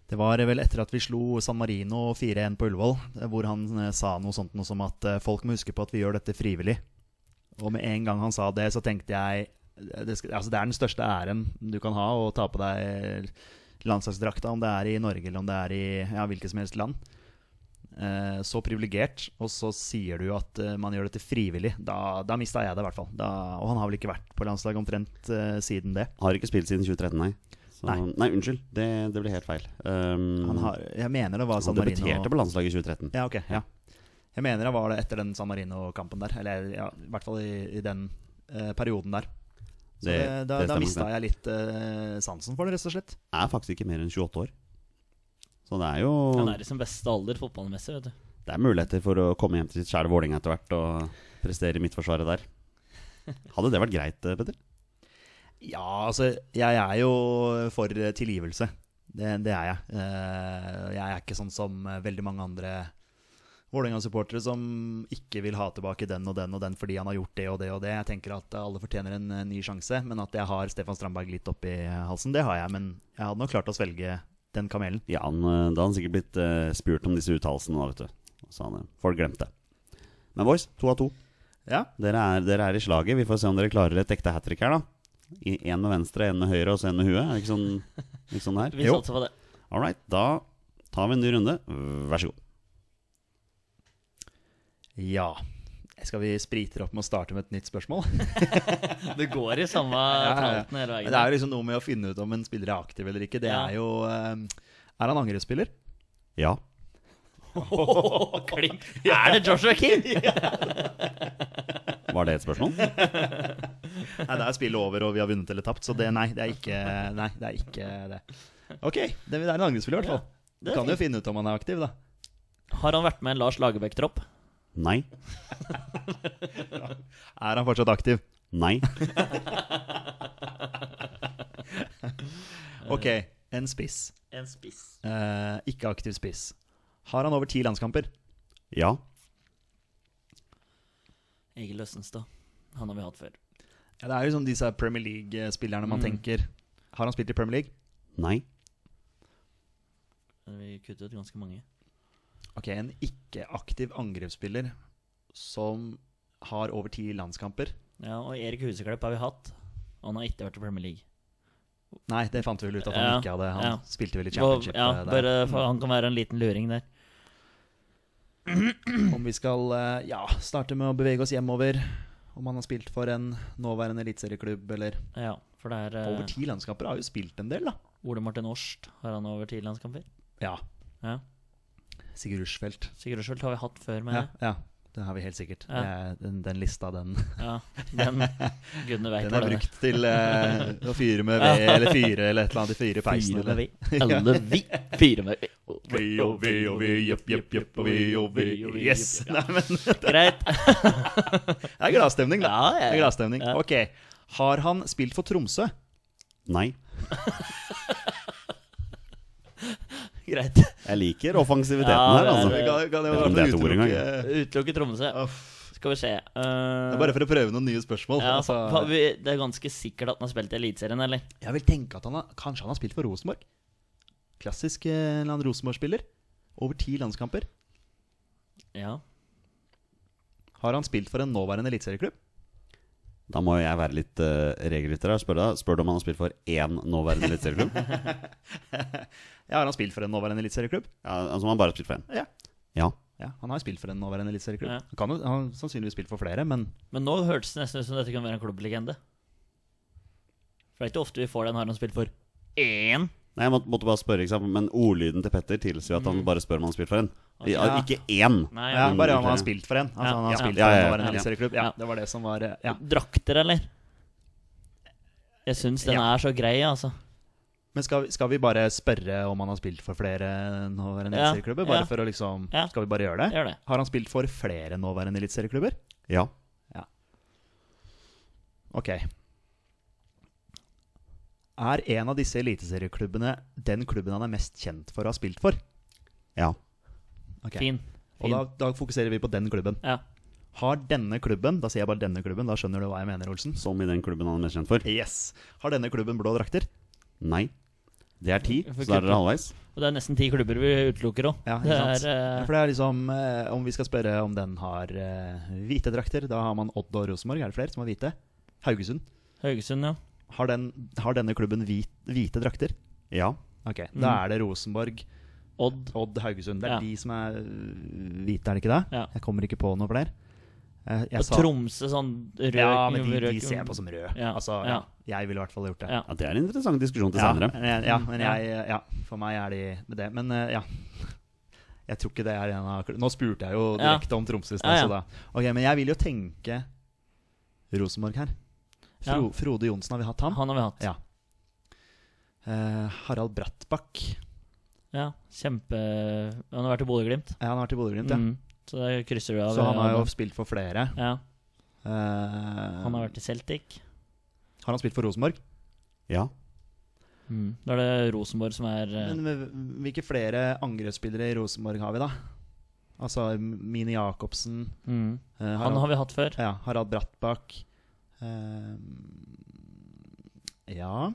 [SPEAKER 2] Det var vel etter at vi slo San Marino 4-1 på Ullevål, eh, hvor han eh, sa noe sånt noe som at eh, folk må huske på at vi gjør dette frivillig. Og med en gang han sa det, så tenkte jeg eh, det, skal, altså det er den største æren du kan ha, å ta på deg eh, landslagsdrakta, om det er i Norge eller om det er i ja, hvilket som helst land. Eh, så privilegert, og så sier du at eh, man gjør dette frivillig. Da, da mista jeg det, i hvert fall. Da, og han har vel ikke vært på landslaget omtrent eh, siden det.
[SPEAKER 1] Har ikke spilt siden 2013, nei. Så, nei.
[SPEAKER 2] Nei.
[SPEAKER 1] unnskyld. Det, det ble helt feil. Um,
[SPEAKER 2] Han har, jeg mener det var
[SPEAKER 1] han
[SPEAKER 2] San Marino
[SPEAKER 1] debuterte på landslaget i 2013.
[SPEAKER 2] Ja, ok. Ja. Jeg mener det var det etter den San Marino-kampen der. Eller ja, i hvert fall i, i den eh, perioden der. Så det,
[SPEAKER 1] Det-
[SPEAKER 2] da,
[SPEAKER 1] det
[SPEAKER 2] da
[SPEAKER 1] stemmer,
[SPEAKER 2] mista
[SPEAKER 1] det.
[SPEAKER 2] jeg litt eh, sansen for det, rett og slett.
[SPEAKER 1] Er faktisk ikke mer enn 28 år. Så det er jo
[SPEAKER 2] Oh.
[SPEAKER 3] Han er i sin beste alder fotballmessig, vet du.
[SPEAKER 1] Det er muligheter for å komme hjem til sitt kjære Vålerenga etter hvert og prestere i midtforsvaret der. Hadde det vært greit, eh, Petter?
[SPEAKER 2] Ja, altså, jeg er jo for eh, tilgivelse. Det, det er jeg. Eh, jeg er ikke sånn som eh, veldig mange andre Vålerenga-supportere som ikke vil ha tilbake den og den og den fordi han har gjort det og det og det. Jeg tenker at alle fortjener en eh, ny sjanse, men at jeg har Stefan Strandberg litt oppi halsen, det har jeg. Men jeg hadde nok klart å svelge den kamelen.
[SPEAKER 1] Ja, han, eh, da hadde han sikkert blitt eh, spurt om disse uttalelsene, da, vet du. Og Så han, eh, folk glemte. Men boys, to av to.
[SPEAKER 2] Ja.
[SPEAKER 1] Dere er, dere er i slaget. Vi får se om dere klarer et ekte hat trick her, da. Én med venstre, én med høyre og så én med huet. Er det ikke sånn, ikke sånn det
[SPEAKER 3] Vi
[SPEAKER 1] her?
[SPEAKER 3] satser på det.
[SPEAKER 1] All right, da tar vi en ny runde. Vær så god.
[SPEAKER 2] Ja. Skal vi sprite det opp med å starte med et nytt spørsmål?
[SPEAKER 3] Det går i samme
[SPEAKER 2] ja, ja.
[SPEAKER 3] tralten hele
[SPEAKER 2] Men
[SPEAKER 3] veien.
[SPEAKER 2] det er jo liksom noe med å finne ut om en spiller er aktiv eller ikke. Det
[SPEAKER 3] Ja.
[SPEAKER 2] er jo eh, Er han angrespiller?
[SPEAKER 1] Ja.
[SPEAKER 3] Klink. Er det Joshua King?
[SPEAKER 1] Var det et spørsmål?
[SPEAKER 2] Nei, det er spillet over, og vi har vunnet eller tapt, så det, nei, det er ikke, nei, det, er ikke det. Ok, det er en angrespiller i hvert fall. Du
[SPEAKER 3] det er
[SPEAKER 2] kan jo
[SPEAKER 3] fint.
[SPEAKER 2] finne ut om han er aktiv, da.
[SPEAKER 3] Har han vært med en Lars Lagerbäck-tropp?
[SPEAKER 1] Nei.
[SPEAKER 2] Er han fortsatt aktiv?
[SPEAKER 1] Nei.
[SPEAKER 2] Ok, en spiss.
[SPEAKER 3] En spiss.
[SPEAKER 2] Eh, ikke aktiv spiss. Har han over ti landskamper?
[SPEAKER 1] Ja.
[SPEAKER 3] Egil Østenstad. Han har vi hatt før.
[SPEAKER 2] Ja, det er jo sånn disse Premier League-spillerne man
[SPEAKER 3] Mm.
[SPEAKER 2] tenker Har han spilt i Premier League?
[SPEAKER 1] Nei.
[SPEAKER 3] Men Vi kuttet ut ganske mange.
[SPEAKER 2] Ok, en ikke-aktiv angrepsspiller som har over ti landskamper.
[SPEAKER 3] Ja, Og Erik Huseklepp har vi hatt. Og han har ikke vært i Premier League.
[SPEAKER 2] Nei, det fant vi vel ut at han
[SPEAKER 3] Ja,
[SPEAKER 2] ikke hadde. Han
[SPEAKER 3] ja.
[SPEAKER 2] spilte vel i
[SPEAKER 3] Og,
[SPEAKER 2] championship
[SPEAKER 3] ja,
[SPEAKER 2] eh, der.
[SPEAKER 3] bare for Han kan være en liten luring der.
[SPEAKER 2] Om vi skal eh, ja, starte med å bevege oss hjemover. Om han har spilt for en nåværende eliteserieklubb eller
[SPEAKER 3] Ja, for det er
[SPEAKER 2] Over
[SPEAKER 3] eh,
[SPEAKER 2] ti landskamper har jo spilt en del, da.
[SPEAKER 3] Ole Martin Årst. Har han over ti landskamper?
[SPEAKER 2] Ja.
[SPEAKER 3] Ja.
[SPEAKER 2] Sigurd Rushfeldt.
[SPEAKER 3] Sigurd Rushfeldt har vi hatt før,
[SPEAKER 2] Ja,
[SPEAKER 3] mener jeg.
[SPEAKER 2] ja, det har vi helt sikkert.
[SPEAKER 3] Ja.
[SPEAKER 2] Det er- Den, den lista, den,
[SPEAKER 3] Ja. Den gudene vet
[SPEAKER 2] den
[SPEAKER 3] hva
[SPEAKER 2] er
[SPEAKER 3] det
[SPEAKER 2] brukt til eh, å fyre med ved eller fyre eller et eller annet. Fyre i peisen.
[SPEAKER 3] Fire med
[SPEAKER 2] eller-
[SPEAKER 3] vi. Alle vi. Fire med vi.
[SPEAKER 2] Vi og vi og vi, jepp, jepp, jepp, og vi og vi. Yes! Nei, men det
[SPEAKER 3] Greit.
[SPEAKER 2] er gladstemning, da.
[SPEAKER 3] Ja,
[SPEAKER 2] Det
[SPEAKER 3] ja,
[SPEAKER 2] er
[SPEAKER 3] ja.
[SPEAKER 2] gladstemning. Ok. Har han spilt for Tromsø?
[SPEAKER 1] Nei.
[SPEAKER 3] Greit.
[SPEAKER 1] Jeg liker offensiviteten
[SPEAKER 3] Ja,
[SPEAKER 1] her,
[SPEAKER 3] det er-
[SPEAKER 1] altså.
[SPEAKER 3] det-
[SPEAKER 2] Kan- kan jeg
[SPEAKER 1] Vet ikke
[SPEAKER 2] bare
[SPEAKER 1] om det er et ord
[SPEAKER 2] utelukke-
[SPEAKER 1] engang.
[SPEAKER 3] Utelukke Tromsø.
[SPEAKER 2] Uff.
[SPEAKER 3] Skal vi se. Eh,
[SPEAKER 2] Det er bare for å prøve noen nye spørsmål.
[SPEAKER 3] ja,
[SPEAKER 2] altså.
[SPEAKER 3] fa- vi, Det er ganske sikkert at han har spilt i Eliteserien, eller?
[SPEAKER 2] Jeg vil tenke at han har, kanskje han har spilt for Rosenborg. Klassisk eh, en eller annen Rosenborg-spiller. Over ti landskamper.
[SPEAKER 3] Ja.
[SPEAKER 2] Har han spilt for en nåværende eliteserieklubb?
[SPEAKER 1] Da må jo jeg være litt uh, regelrytter her. Spør, deg- spør du om han har spilt for én nåværende eliteserieklubb?
[SPEAKER 2] Ja, har han spilt for en nåværende eliteserieklubb?
[SPEAKER 1] Ja, altså, han har bare spilt for én.
[SPEAKER 2] Ja.
[SPEAKER 1] Ja.
[SPEAKER 2] ja. Han har spilt for en nåværende eliteserieklubb.
[SPEAKER 3] Ja.
[SPEAKER 2] Han Kan jo, han har sannsynligvis spilt for flere, men
[SPEAKER 3] Men nå hørtes det nesten ut som dette kunne være en klubblegende. For det er ikke ofte vi får den her han spilt for én.
[SPEAKER 1] Nei, jeg måtte, måtte bare spørre, ikke sant? men ordlyden til Petter tilsier at han bare spør om han har spilt for en. Ja,
[SPEAKER 2] Ja.
[SPEAKER 1] Ikke én.
[SPEAKER 3] Nei,
[SPEAKER 2] ja,
[SPEAKER 1] men-
[SPEAKER 2] Bare om han har spilt for en. Altså,
[SPEAKER 3] Ja.
[SPEAKER 2] han har
[SPEAKER 3] Ja.
[SPEAKER 2] spilt
[SPEAKER 1] Ja,
[SPEAKER 2] for
[SPEAKER 1] ja,
[SPEAKER 2] en
[SPEAKER 1] ja.
[SPEAKER 2] nåværende
[SPEAKER 1] Ja.
[SPEAKER 2] eliteserieklubb. Ja,
[SPEAKER 3] Ja.
[SPEAKER 2] det var det som var eh, Ja.
[SPEAKER 3] Drakter, eller? Jeg syns den
[SPEAKER 2] Ja.
[SPEAKER 3] er så grei, altså.
[SPEAKER 2] Men skal, vi- skal vi bare spørre om han har spilt for flere nåværende
[SPEAKER 3] Ja,
[SPEAKER 2] eliteserieklubber? Bare
[SPEAKER 3] ja.
[SPEAKER 2] for å liksom
[SPEAKER 3] Ja.
[SPEAKER 2] Skal vi bare gjøre det?
[SPEAKER 3] Gjør det.
[SPEAKER 2] Har han spilt for flere nåværende eliteserieklubber?
[SPEAKER 1] Ja.
[SPEAKER 2] Ok. Er en av disse eliteserieklubbene den klubben han er mest kjent for å ha spilt for?
[SPEAKER 1] Ja.
[SPEAKER 2] Ok.
[SPEAKER 3] Fin.
[SPEAKER 2] Og
[SPEAKER 3] fin.
[SPEAKER 2] da, da fokuserer vi på den klubben.
[SPEAKER 3] Ja.
[SPEAKER 2] Har denne klubben Da sier jeg bare denne klubben, da skjønner du hva jeg mener, Olsen.
[SPEAKER 1] Som i den klubben han er mest kjent for?
[SPEAKER 2] Yes. Har denne klubben blå drakter?
[SPEAKER 1] Nei. Det er ti,
[SPEAKER 3] For
[SPEAKER 1] så da er
[SPEAKER 3] kutt.
[SPEAKER 1] dere halvveis.
[SPEAKER 3] Og det er nesten ti klubber vi utelukker òg.
[SPEAKER 2] Ja,
[SPEAKER 3] det
[SPEAKER 2] ikke sant?
[SPEAKER 3] er eh,
[SPEAKER 2] Ja, For det er liksom eh, Om vi skal spørre om den har eh, hvite drakter, da har man Odd og Rosenborg. Er det flere som har hvite? Haugesund.
[SPEAKER 3] Haugesund, ja.
[SPEAKER 2] Har, den, har denne klubben hvit, hvite drakter?
[SPEAKER 1] Ja.
[SPEAKER 2] Ok, Da er det Rosenborg,
[SPEAKER 3] Odd.
[SPEAKER 2] Odd, Haugesund. Det er
[SPEAKER 3] Mm. Ja.
[SPEAKER 2] de som er øh, hvite, er det ikke det?
[SPEAKER 3] Ja.
[SPEAKER 2] Jeg kommer ikke på noe flere. Eh, Jeg
[SPEAKER 3] Og Tromsø, sånn rød
[SPEAKER 2] Ja, men de, de
[SPEAKER 3] rød-
[SPEAKER 2] ser jeg på som rød.
[SPEAKER 3] Ja,
[SPEAKER 2] Altså, ja. Jeg ville i hvert fall gjort det.
[SPEAKER 3] Ja.
[SPEAKER 1] ja. Det er en interessant diskusjon til
[SPEAKER 2] Ja,
[SPEAKER 1] senere.
[SPEAKER 2] men jeg, ja, men
[SPEAKER 3] Ja.
[SPEAKER 2] jeg, ja, for meg er de det. Men eh, ja. Jeg tror ikke det er en av kl- Nå spurte jeg jo
[SPEAKER 3] Ja.
[SPEAKER 2] direkte om Tromsø i
[SPEAKER 3] Ja,
[SPEAKER 2] stad,
[SPEAKER 3] ja.
[SPEAKER 2] så da Ok, men jeg vil jo tenke Rosenborg her. Fro,
[SPEAKER 3] Ja.
[SPEAKER 2] Frode Johnsen, har vi hatt ham?
[SPEAKER 3] Han har vi hatt.
[SPEAKER 2] Ja. Eh, Harald Brattbakk.
[SPEAKER 3] Ja, kjempe Han har vært i Bodø-Glimt.
[SPEAKER 2] Ja, han har vært i Bodø-Glimt, ja.
[SPEAKER 3] Mm. Så det krysser du av.
[SPEAKER 2] Så han har jo spilt for flere.
[SPEAKER 3] ja.
[SPEAKER 2] Eh,
[SPEAKER 3] Han har vært i Celtic.
[SPEAKER 2] Har han spilt for Rosenborg?
[SPEAKER 1] Ja.
[SPEAKER 3] Mm. Da er det Rosenborg som er eh,
[SPEAKER 2] Men med- hvilke flere angrepsspillere i Rosenborg har vi, da? Altså Mini Jacobsen
[SPEAKER 3] mm.
[SPEAKER 2] eh,
[SPEAKER 3] Han
[SPEAKER 2] Harald-
[SPEAKER 3] har vi hatt før.
[SPEAKER 2] Ja, Harald Brattbakk. Eh, ja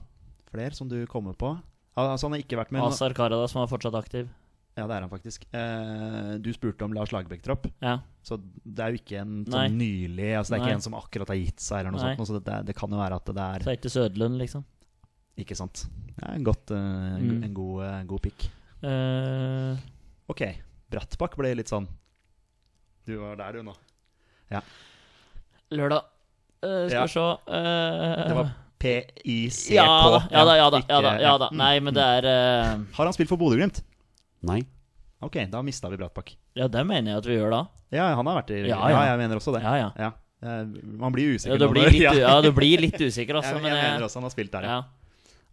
[SPEAKER 2] Flere som du kommer på. Al- Altså, han har ikke vært med nå-
[SPEAKER 3] Azar Karadas, som er fortsatt aktiv.
[SPEAKER 2] Ja, det er han faktisk. Eh, du spurte om Lars Lagerbäck-tropp.
[SPEAKER 3] Ja.
[SPEAKER 2] Så det er jo ikke en sånn nylig Altså Det er
[SPEAKER 3] Nei.
[SPEAKER 2] ikke en som akkurat har gitt seg, eller noe
[SPEAKER 3] Nei.
[SPEAKER 2] sånt. Så det, det, det kan jo være at det
[SPEAKER 3] Så
[SPEAKER 2] er
[SPEAKER 3] er det ikke Sødlund, liksom.
[SPEAKER 2] Ikke sant. Det er en godt, eh, en go-
[SPEAKER 3] Mm.
[SPEAKER 2] en god, eh, god pick.
[SPEAKER 3] Eh,
[SPEAKER 2] Ok, Brattbakk ble litt sånn Du var der, du, nå.
[SPEAKER 3] lørdag. Eh, skal
[SPEAKER 2] Ja.
[SPEAKER 3] vi se eh,
[SPEAKER 2] Det var PICK.
[SPEAKER 3] ja, da, ja da, ja da.
[SPEAKER 2] ikke-
[SPEAKER 3] Ja da, ja da.
[SPEAKER 2] Mm.
[SPEAKER 3] Nei, men det er eh,
[SPEAKER 2] Har han spilt for Bodø-Glimt?
[SPEAKER 1] Nei.
[SPEAKER 2] Ok, da mista vi Brattbakk.
[SPEAKER 3] Ja, det mener jeg at vi gjør da.
[SPEAKER 2] Ja, han har vært i
[SPEAKER 3] Ja,
[SPEAKER 2] Ja,
[SPEAKER 3] ja.
[SPEAKER 2] jeg mener også det.
[SPEAKER 3] Ja, ja.
[SPEAKER 2] Ja. Eh, Man blir jo usikker
[SPEAKER 3] Ja, du
[SPEAKER 2] nå
[SPEAKER 3] blir
[SPEAKER 2] når-
[SPEAKER 3] litt,
[SPEAKER 2] ja.
[SPEAKER 3] u- ja, du blir litt usikker, altså.
[SPEAKER 2] jeg,
[SPEAKER 3] Men
[SPEAKER 2] jeg
[SPEAKER 3] jeg,
[SPEAKER 2] mener også han har spilt der, ja.
[SPEAKER 3] ja.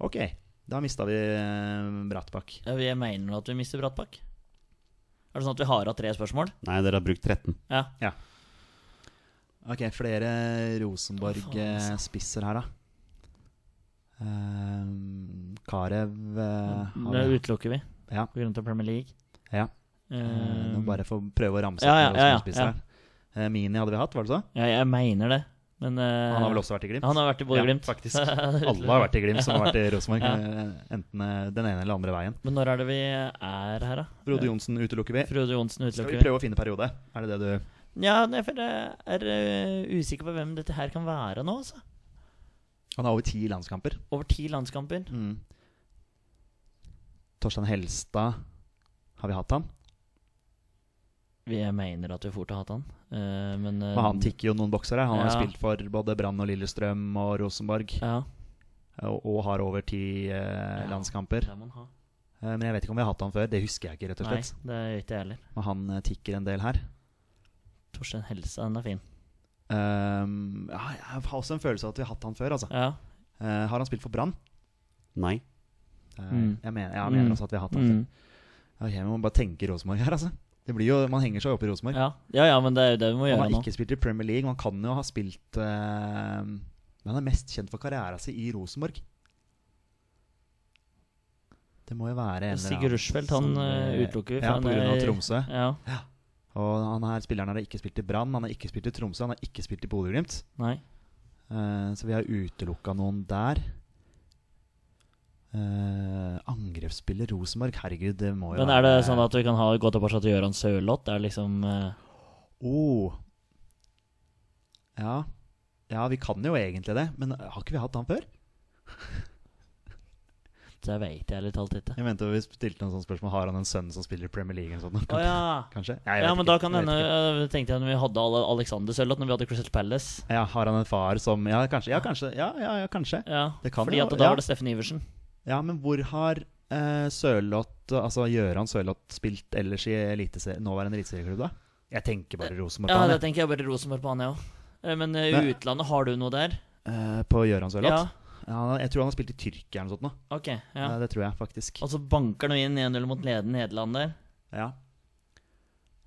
[SPEAKER 2] Ok, da mista vi eh, Brattbakk.
[SPEAKER 3] Ja, Jeg mener at vi mister Brattbakk. Er det sånn at vi har hatt tre spørsmål?
[SPEAKER 1] Nei, dere har brukt 13.
[SPEAKER 3] Ja.
[SPEAKER 2] Ok, flere
[SPEAKER 3] Å, faen, altså.
[SPEAKER 2] Rosenborg-spisser her, da. Eh, Karev eh, har
[SPEAKER 3] Mm, Det
[SPEAKER 2] vi-
[SPEAKER 3] utelukker vi
[SPEAKER 2] Ja.
[SPEAKER 3] på grunn av Premier League.
[SPEAKER 2] Ja.
[SPEAKER 3] Eh,
[SPEAKER 2] Eh, nå bare for å prøve å ramse opp
[SPEAKER 3] Ja, ja,
[SPEAKER 2] noen
[SPEAKER 3] ja, ja,
[SPEAKER 2] Rosenborg-spisser
[SPEAKER 3] ja.
[SPEAKER 2] her. Eh, Mini hadde vi hatt, var det så?
[SPEAKER 3] ja, jeg mener det, men eh,
[SPEAKER 2] Han har vel også vært i Glimt?
[SPEAKER 3] Han har vært i Bodø-Glimt.
[SPEAKER 2] Ja, faktisk. Alle har vært i Glimt som har vært i Rosenborg.
[SPEAKER 3] Ja.
[SPEAKER 2] eh, Enten eh, den ene eller andre veien.
[SPEAKER 3] Men når er det vi er her, da?
[SPEAKER 2] Frode Johnsen utelukker vi.
[SPEAKER 3] Frode Johnsen
[SPEAKER 2] Skal
[SPEAKER 3] utelukker
[SPEAKER 2] vi
[SPEAKER 3] vi.
[SPEAKER 2] prøve å finne periode? Er det det du
[SPEAKER 3] Ja, nei, for jeg er eh, usikker på hvem dette her kan være nå, altså.
[SPEAKER 2] Han har over ti landskamper.
[SPEAKER 3] Over ti landskamper.
[SPEAKER 2] Torstein Helstad Har vi hatt han?
[SPEAKER 3] Vi mener at vi fort har hatt han. Eh, men, eh,
[SPEAKER 2] Men han tikker jo noen bokser her. Han har
[SPEAKER 3] Ja.
[SPEAKER 2] jo spilt for både Brann og Lillestrøm og Rosenborg.
[SPEAKER 3] Ja,
[SPEAKER 2] Og, og har over ti eh,
[SPEAKER 3] Ja.
[SPEAKER 2] landskamper.
[SPEAKER 3] det må han ha.
[SPEAKER 2] Eh, men jeg vet ikke om vi har hatt han før. Det husker jeg ikke, rett og
[SPEAKER 3] Nei,
[SPEAKER 2] slett.
[SPEAKER 3] det gjør ikke jeg heller.
[SPEAKER 2] Men han eh, tikker en del her.
[SPEAKER 3] Torstein Helsa, den er fin.
[SPEAKER 2] Ehm, ja, jeg har også en følelse av at vi har hatt han før, altså.
[SPEAKER 3] Ja,
[SPEAKER 2] Eh, har han spilt for Brann?
[SPEAKER 1] Nei.
[SPEAKER 2] Eh,
[SPEAKER 3] Mm.
[SPEAKER 2] Jeg mener, jeg
[SPEAKER 3] Mm.
[SPEAKER 2] mener også at vi har hatt han
[SPEAKER 3] mm.
[SPEAKER 2] før. Ok, men man bare tenker Rosenborg her, altså. Det blir jo, man henger seg opp i Rosenborg.
[SPEAKER 3] ja. ja, ja men det er jo det vi må
[SPEAKER 2] Han
[SPEAKER 3] gjøre
[SPEAKER 2] har
[SPEAKER 3] nå.
[SPEAKER 2] ikke spilt i Premier League. Man kan jo ha spilt eh, Men han er mest kjent for karriera si i Rosenborg. Det må jo være en eller
[SPEAKER 3] Sigurd
[SPEAKER 2] annen
[SPEAKER 3] Rushfeldt, han
[SPEAKER 2] som, eh,
[SPEAKER 3] eh, utelukker vi.
[SPEAKER 2] Ja,
[SPEAKER 3] for
[SPEAKER 2] på
[SPEAKER 3] han
[SPEAKER 2] grunn av
[SPEAKER 3] er-
[SPEAKER 2] Tromsø.
[SPEAKER 3] Ja,
[SPEAKER 2] Og han her spilleren har ikke spilt i Brann, han har ikke spilt i Tromsø, han har ikke spilt i Bodø-Glimt.
[SPEAKER 3] nei.
[SPEAKER 2] Eh, så vi har utelukka noen der. Eh, angrepsspiller Rosenborg, herregud, det må jo
[SPEAKER 3] Men er det sånn at vi kan ha gå tilbake til Gøran Sørloth? Det er liksom eh,
[SPEAKER 2] oh. ja. ja, vi kan jo egentlig det, men har ikke vi hatt han før?
[SPEAKER 3] Det veit jeg ærlig talt ikke.
[SPEAKER 2] Jeg mente vi stilte noen sånne spørsmål Har han en sønn som spiller i Premier League eller noe sånt?
[SPEAKER 3] Å ja.
[SPEAKER 2] Kanskje? Nei, jeg
[SPEAKER 3] ja,
[SPEAKER 2] vet
[SPEAKER 3] men
[SPEAKER 2] ikke.
[SPEAKER 3] da kan
[SPEAKER 2] Jeg
[SPEAKER 3] hende
[SPEAKER 2] vet ikke.
[SPEAKER 3] eh, tenkte jeg når vi hadde alle Alexander Sørloth, når vi hadde Crystal Palace.
[SPEAKER 2] Ja, har han en far som Ja, kanskje. Ja, kanskje. Ja, ja, ja, kanskje.
[SPEAKER 3] Ja,
[SPEAKER 2] Det kan
[SPEAKER 3] fordi
[SPEAKER 2] jo-
[SPEAKER 3] at da
[SPEAKER 2] ja.
[SPEAKER 3] var det Steffen Iversen.
[SPEAKER 2] ja men hvor har eh, Sørloth, altså Gøran Sørloth, spilt ellers i elitese- nåværende eliteserieklubb, da? Jeg tenker bare Rosenborg.
[SPEAKER 3] Ja,
[SPEAKER 2] han,
[SPEAKER 3] det
[SPEAKER 2] jeg.
[SPEAKER 3] tenker jeg bare Rosenborg på han, jeg òg. Men eh,
[SPEAKER 2] Men-
[SPEAKER 3] utlandet, har du noe der?
[SPEAKER 2] Eh, på Gøran
[SPEAKER 3] Ja,
[SPEAKER 2] Sørloth? Ja. jeg tror han har spilt i Tyrkia eller noe sånt. nå.
[SPEAKER 3] ok. ja
[SPEAKER 2] Ja. Det tror jeg faktisk.
[SPEAKER 3] Og så banker han inn 1-0 mot ledende Nederland der.
[SPEAKER 2] Ja.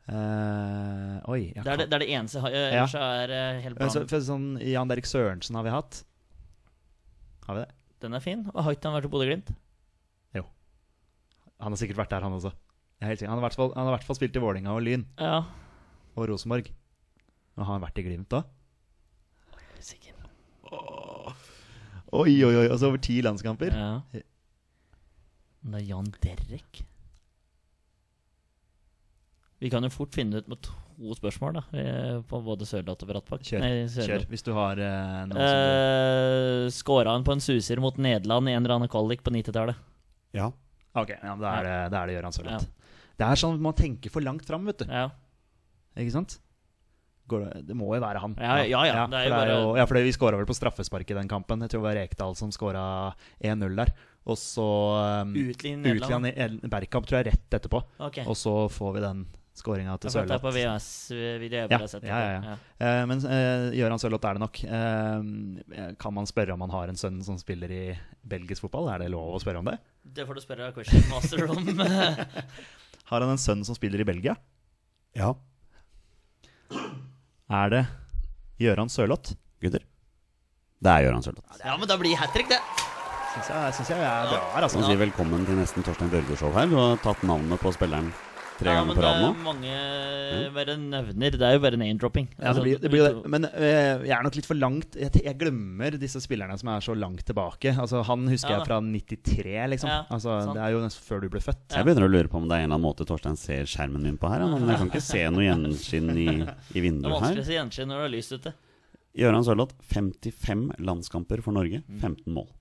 [SPEAKER 2] Eh, oi. Jeg
[SPEAKER 3] Det er det, det, er det eneste jeg har. eh,
[SPEAKER 2] Ja.
[SPEAKER 3] Ellers så er eh, hele
[SPEAKER 2] Men så,
[SPEAKER 3] planen
[SPEAKER 2] for sånn, Jan Derek Sørensen har vi hatt. Har vi det?
[SPEAKER 3] Den er fin. Og har ikke han vært i Bodø-Glimt?
[SPEAKER 2] Han har sikkert vært der, han også. Jeg er helt sikker. Han har i hvert fall- han har i hvert fall spilt i Vålinga og Lyn
[SPEAKER 3] Ja.
[SPEAKER 2] og Rosenborg. Men har han vært i Glimt da?
[SPEAKER 3] Sikker.
[SPEAKER 2] Oi, oi, oi. Altså over ti landskamper.
[SPEAKER 3] Ja. Men det er Jan Derek. Vi kan jo fort finne ut med to spørsmål, da. eh, På både Sørloth og Brattbakk.
[SPEAKER 2] Kjør.
[SPEAKER 3] Nei,
[SPEAKER 2] Kjør,
[SPEAKER 3] Sørloth.
[SPEAKER 2] hvis du har eh, noen som
[SPEAKER 3] Eh, Skåra han på en suser mot Nederland i en eller annen kvalik på 90-tallet?
[SPEAKER 1] Ja.
[SPEAKER 2] du Ok, ja, men da er det, da er det Gøran Sørloth.
[SPEAKER 3] Ja.
[SPEAKER 2] Det er sånn at man tenker for langt fram, vet du.
[SPEAKER 3] Ja.
[SPEAKER 2] Ikke sant? Går det, det må jo være han.
[SPEAKER 3] Ja, ja, ja, det er jo
[SPEAKER 2] for
[SPEAKER 3] bare-
[SPEAKER 2] jo, ja, for det- vi skåra vel på straffespark i den kampen. Jeg tror det var Rekdal som skåra 1-0 der. Og så um,
[SPEAKER 3] Utlignet Nederland.
[SPEAKER 2] Utland i Berkamp, tror jeg, rett etterpå.
[SPEAKER 3] Ok.
[SPEAKER 2] Og så får vi den skåringa til
[SPEAKER 3] Jeg følte det er på
[SPEAKER 2] Sørloth.
[SPEAKER 3] VHS-video. jeg
[SPEAKER 2] Ja,
[SPEAKER 3] bare har sett det
[SPEAKER 2] ja, ja,
[SPEAKER 3] på.
[SPEAKER 2] ja. Eh, men uh, Gøran Sørloth er det nok. Eh, kan man spørre om han har en sønn som spiller i belgisk fotball? Er det lov å spørre om det?
[SPEAKER 3] Det får du spørre Question Master om.
[SPEAKER 2] Har han en sønn som spiller i Belgia?
[SPEAKER 1] Ja.
[SPEAKER 2] Er det Gøran Sørloth?
[SPEAKER 1] Gutter. Det er Gøran Sørloth.
[SPEAKER 3] ja, men da blir hat trick, det.
[SPEAKER 2] Syns jeg, synes jeg er bra her,
[SPEAKER 1] Han
[SPEAKER 2] altså.
[SPEAKER 1] sier velkommen til nesten Torstein Børge-show her. Du har tatt navnet på spilleren tre
[SPEAKER 3] Ja,
[SPEAKER 1] ganger
[SPEAKER 3] men
[SPEAKER 1] på
[SPEAKER 3] det
[SPEAKER 1] rad
[SPEAKER 3] er
[SPEAKER 1] nå.
[SPEAKER 3] mange bare nevner. Det er jo bare name-dropping.
[SPEAKER 2] Ja, det blir, det blir det. Men eh, jeg er nok litt for langt Jeg, jeg glemmer disse spillerne som er så langt tilbake. Altså, han husker
[SPEAKER 3] Ja da.
[SPEAKER 2] jeg fra 93, liksom.
[SPEAKER 3] Ja,
[SPEAKER 2] altså,
[SPEAKER 3] sant.
[SPEAKER 2] det er jo nesten før du ble født.
[SPEAKER 1] Jeg begynner å lure på om det er en eller annen måte Torstein ser skjermen min på her. ja, Men jeg kan ikke se noe gjenskinn i, i
[SPEAKER 3] Det er
[SPEAKER 1] vinduet her.
[SPEAKER 3] vanskelig å se gjenskinn når det er lyst ute.
[SPEAKER 1] Gøran Sørloth, 55 landskamper for Norge,
[SPEAKER 3] Mm.
[SPEAKER 1] 15 mål.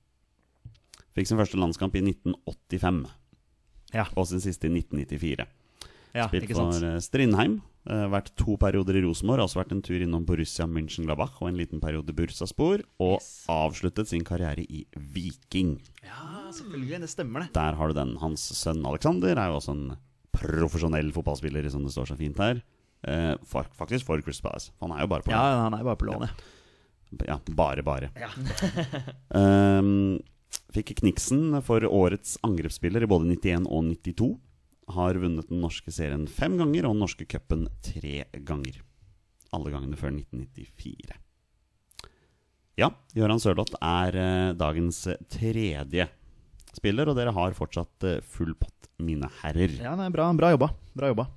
[SPEAKER 1] Fikk sin første landskamp i 1985,
[SPEAKER 2] Ja.
[SPEAKER 1] og sin siste i 1994.
[SPEAKER 2] Ja,
[SPEAKER 1] Spilt
[SPEAKER 2] ikke sant?
[SPEAKER 1] for eh, Strindheim. eh, Vært to perioder i Rosenborg. Også vært en tur innom Borussia München-Glabach og en liten periode Bursaspor. Og avsluttet sin karriere i Viking.
[SPEAKER 2] Ja, selvfølgelig. Det stemmer, det.
[SPEAKER 1] Der har du den. Hans sønn Alexander er jo også en profesjonell fotballspiller, som det står så fint her. Eh, for, faktisk for Chris Palace. Han er jo bare på
[SPEAKER 2] Ja, han er jo bare på lån, ja.
[SPEAKER 1] ja, bare, bare. Ehm, fikk Kniksen for årets angrepsspiller i både 91 og 92. Har vunnet den norske serien fem ganger og den norske cupen tre ganger. Alle gangene før 1994. Ja, Gøran Sørloth er eh, dagens tredje spiller, og dere har fortsatt eh, full pott, mine herrer.
[SPEAKER 2] Ja, nei, bra, bra jobba. Bra jobba.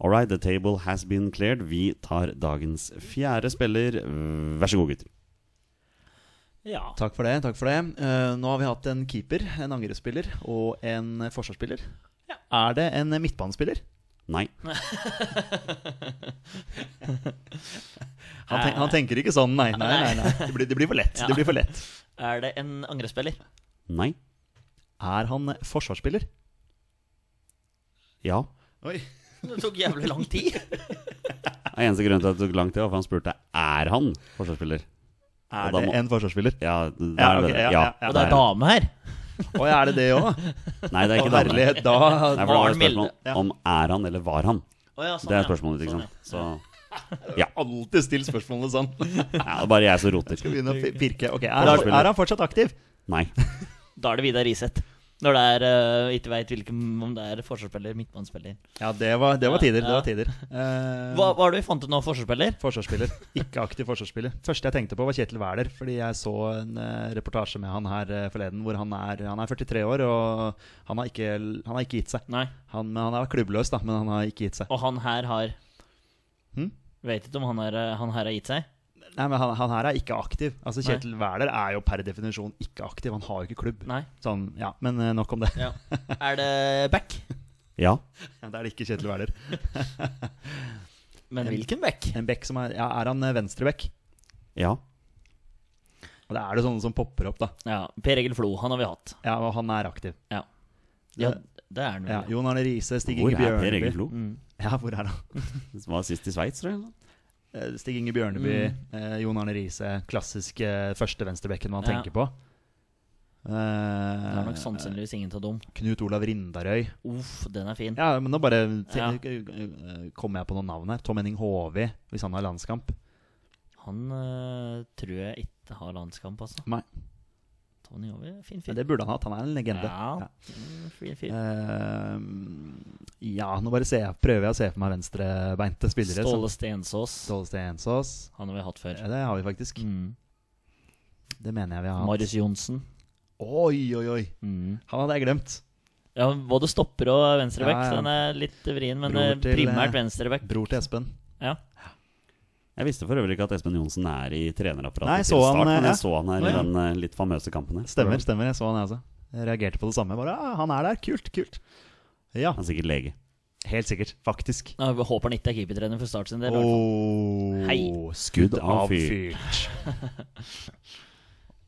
[SPEAKER 1] All right, the table has been cleared. Vi tar dagens fjerde spiller. Vær så god, gutter.
[SPEAKER 3] Ja.
[SPEAKER 2] Takk for det. takk for det Eh, Nå har vi hatt en keeper, en angrepsspiller og en forsvarsspiller. Er det en midtbanespiller?
[SPEAKER 1] Nei.
[SPEAKER 2] Han, tenk, han tenker ikke sånn, nei, nei, nei. nei. Det, blir, det blir for lett. Det blir for lett.
[SPEAKER 3] Er det en angrepsspiller?
[SPEAKER 1] Nei.
[SPEAKER 2] Er han forsvarsspiller?
[SPEAKER 1] Ja.
[SPEAKER 2] Oi.
[SPEAKER 3] Det tok jævlig lang tid.
[SPEAKER 1] Den eneste grunnen til at det tok lang tid, var for han spurte er han forsvarsspiller.
[SPEAKER 2] Er
[SPEAKER 1] da
[SPEAKER 2] det
[SPEAKER 1] må-
[SPEAKER 2] en forsvarsspiller?
[SPEAKER 1] Ja, det
[SPEAKER 2] Ja,
[SPEAKER 1] er
[SPEAKER 2] ok,
[SPEAKER 1] det.
[SPEAKER 2] ja,
[SPEAKER 1] ja,
[SPEAKER 2] ja, ja.
[SPEAKER 3] Og det er dame her.
[SPEAKER 2] Å, ja, er det det òg?
[SPEAKER 1] Nei, det er ikke dame.
[SPEAKER 2] Herlighet, da
[SPEAKER 1] Nei, for det
[SPEAKER 3] Var
[SPEAKER 1] var
[SPEAKER 3] han
[SPEAKER 1] et
[SPEAKER 3] milde?
[SPEAKER 1] spørsmål om er han eller var han.
[SPEAKER 3] Å ja, sånn,
[SPEAKER 1] Det er
[SPEAKER 3] ja.
[SPEAKER 1] spørsmålet ditt,
[SPEAKER 3] Sånn,
[SPEAKER 1] ikke
[SPEAKER 3] ja.
[SPEAKER 1] sant. Så
[SPEAKER 2] Alltid still spørsmålene sånn.
[SPEAKER 1] ja, det er bare jeg som roter.
[SPEAKER 2] Skal begynne å pi- pirke. Ok, er, han-
[SPEAKER 1] Forsvarsspiller.
[SPEAKER 2] er han fortsatt aktiv?
[SPEAKER 1] Nei.
[SPEAKER 3] Da er det Vidar Riseth. Når det er eh, ikke veit hvilken- om det er forsvarsspiller, midtbanespiller.
[SPEAKER 2] Ja, det var, det var tider. Det
[SPEAKER 3] Ja.
[SPEAKER 2] var tider. Eh,
[SPEAKER 3] Hva var det vi fant ut nå? Forsvarsspiller?
[SPEAKER 2] Forsvarsspiller. Ikke aktiv forsvarsspiller. Første jeg tenkte på, var Kjetil Wæler. Fordi jeg så en eh, reportasje med han her eh, forleden, hvor han er, han er 43 år, og han har ikke, han har ikke gitt seg.
[SPEAKER 3] Nei.
[SPEAKER 2] Han, men han er klubbløs, da, men han har ikke gitt seg.
[SPEAKER 3] Og han her har
[SPEAKER 2] Hm?
[SPEAKER 3] Vet ikke om han, er, eh, han her har gitt seg.
[SPEAKER 2] Nei, men han, han her er ikke aktiv. Altså
[SPEAKER 3] Nei.
[SPEAKER 2] Kjetil Wæler er jo per definisjon ikke aktiv. Han har jo ikke klubb.
[SPEAKER 3] Nei.
[SPEAKER 2] Sånn, ja, Men eh, nok om det.
[SPEAKER 3] Ja. Er det back?
[SPEAKER 1] Ja.
[SPEAKER 2] Ja, Da er det ikke Kjetil Wæler.
[SPEAKER 3] Men hvilken back?
[SPEAKER 2] En bekk som er Ja, er han eh, venstrebekk?
[SPEAKER 1] Ja.
[SPEAKER 2] Og det er det sånne som popper opp, da.
[SPEAKER 3] Ja, Per Egil Flo, han har vi hatt.
[SPEAKER 2] Ja, og han er aktiv.
[SPEAKER 3] Ja, ja det er han
[SPEAKER 2] Ja, Mm.
[SPEAKER 3] vel.
[SPEAKER 2] Jon Arne Riise, Stig
[SPEAKER 1] Hvor
[SPEAKER 2] Inge
[SPEAKER 1] er Per Egil
[SPEAKER 2] Bjørneby.
[SPEAKER 1] Flo?
[SPEAKER 2] Ja, hvor er han?
[SPEAKER 1] Som var sist i Sveits, tror jeg.
[SPEAKER 2] Eh, Stig Inge Bjørneby, eh, Jon Arne Riise. Klassisk eh, første venstrebekken man
[SPEAKER 3] Ja.
[SPEAKER 2] tenker på.
[SPEAKER 3] Det er nok
[SPEAKER 2] Eh,
[SPEAKER 3] sannsynligvis ingen av dem.
[SPEAKER 2] Knut Olav Rindarøy.
[SPEAKER 3] Uff, den er fin.
[SPEAKER 2] Ja, men nå bare te-
[SPEAKER 3] Ja.
[SPEAKER 2] eh, kommer jeg på noen navn her. Tom Henning Håvi, hvis han har landskamp.
[SPEAKER 3] Han eh, tror jeg ikke har landskamp, altså.
[SPEAKER 2] Nei.
[SPEAKER 3] Tony Over, fin
[SPEAKER 2] Men
[SPEAKER 3] fyr.
[SPEAKER 2] det burde han hatt. Han er en legende.
[SPEAKER 3] Ja. Mm, Fin fyr.
[SPEAKER 2] Eh, ja, nå bare ser jeg, prøver jeg å se for meg venstrebeinte spillere. som-
[SPEAKER 3] Ståle Stensås.
[SPEAKER 2] Ståle Stensås.
[SPEAKER 3] Han har vi hatt før.
[SPEAKER 2] Ja, det har vi faktisk.
[SPEAKER 3] Mm.
[SPEAKER 2] Det mener jeg vi har hatt.
[SPEAKER 3] Marius Johnsen.
[SPEAKER 2] Oi, oi, oi.
[SPEAKER 3] Mm.
[SPEAKER 2] Han hadde jeg glemt.
[SPEAKER 3] Ja, både stopper og venstreback.
[SPEAKER 2] Ja,
[SPEAKER 3] så
[SPEAKER 2] ja.
[SPEAKER 3] Den er litt vrien, men
[SPEAKER 2] Bror
[SPEAKER 3] eh,
[SPEAKER 2] til,
[SPEAKER 3] primært
[SPEAKER 2] eh,
[SPEAKER 3] venstreback.
[SPEAKER 2] Bror til Espen.
[SPEAKER 3] Ja.
[SPEAKER 1] Jeg visste for øvrig ikke at Espen Johnsen er i trenerapparatet
[SPEAKER 2] Nei,
[SPEAKER 1] til
[SPEAKER 2] så han,
[SPEAKER 1] start, men
[SPEAKER 2] ja.
[SPEAKER 1] jeg så han her
[SPEAKER 2] Å,
[SPEAKER 1] i
[SPEAKER 2] ja.
[SPEAKER 1] den eh, litt famøse kampen. her.
[SPEAKER 2] Stemmer, stemmer. Jeg så han, jeg også. Jeg reagerte på det samme. Bare, ah, han er der. Kult, kult. Ja,
[SPEAKER 1] Han er sikkert lege.
[SPEAKER 2] helt sikkert. Faktisk.
[SPEAKER 3] Nå, Jeg håper han ikke er keepertrener for Start sin del. i hvert fall.
[SPEAKER 2] Åh,
[SPEAKER 3] Hei.
[SPEAKER 1] Skudd avfyrt.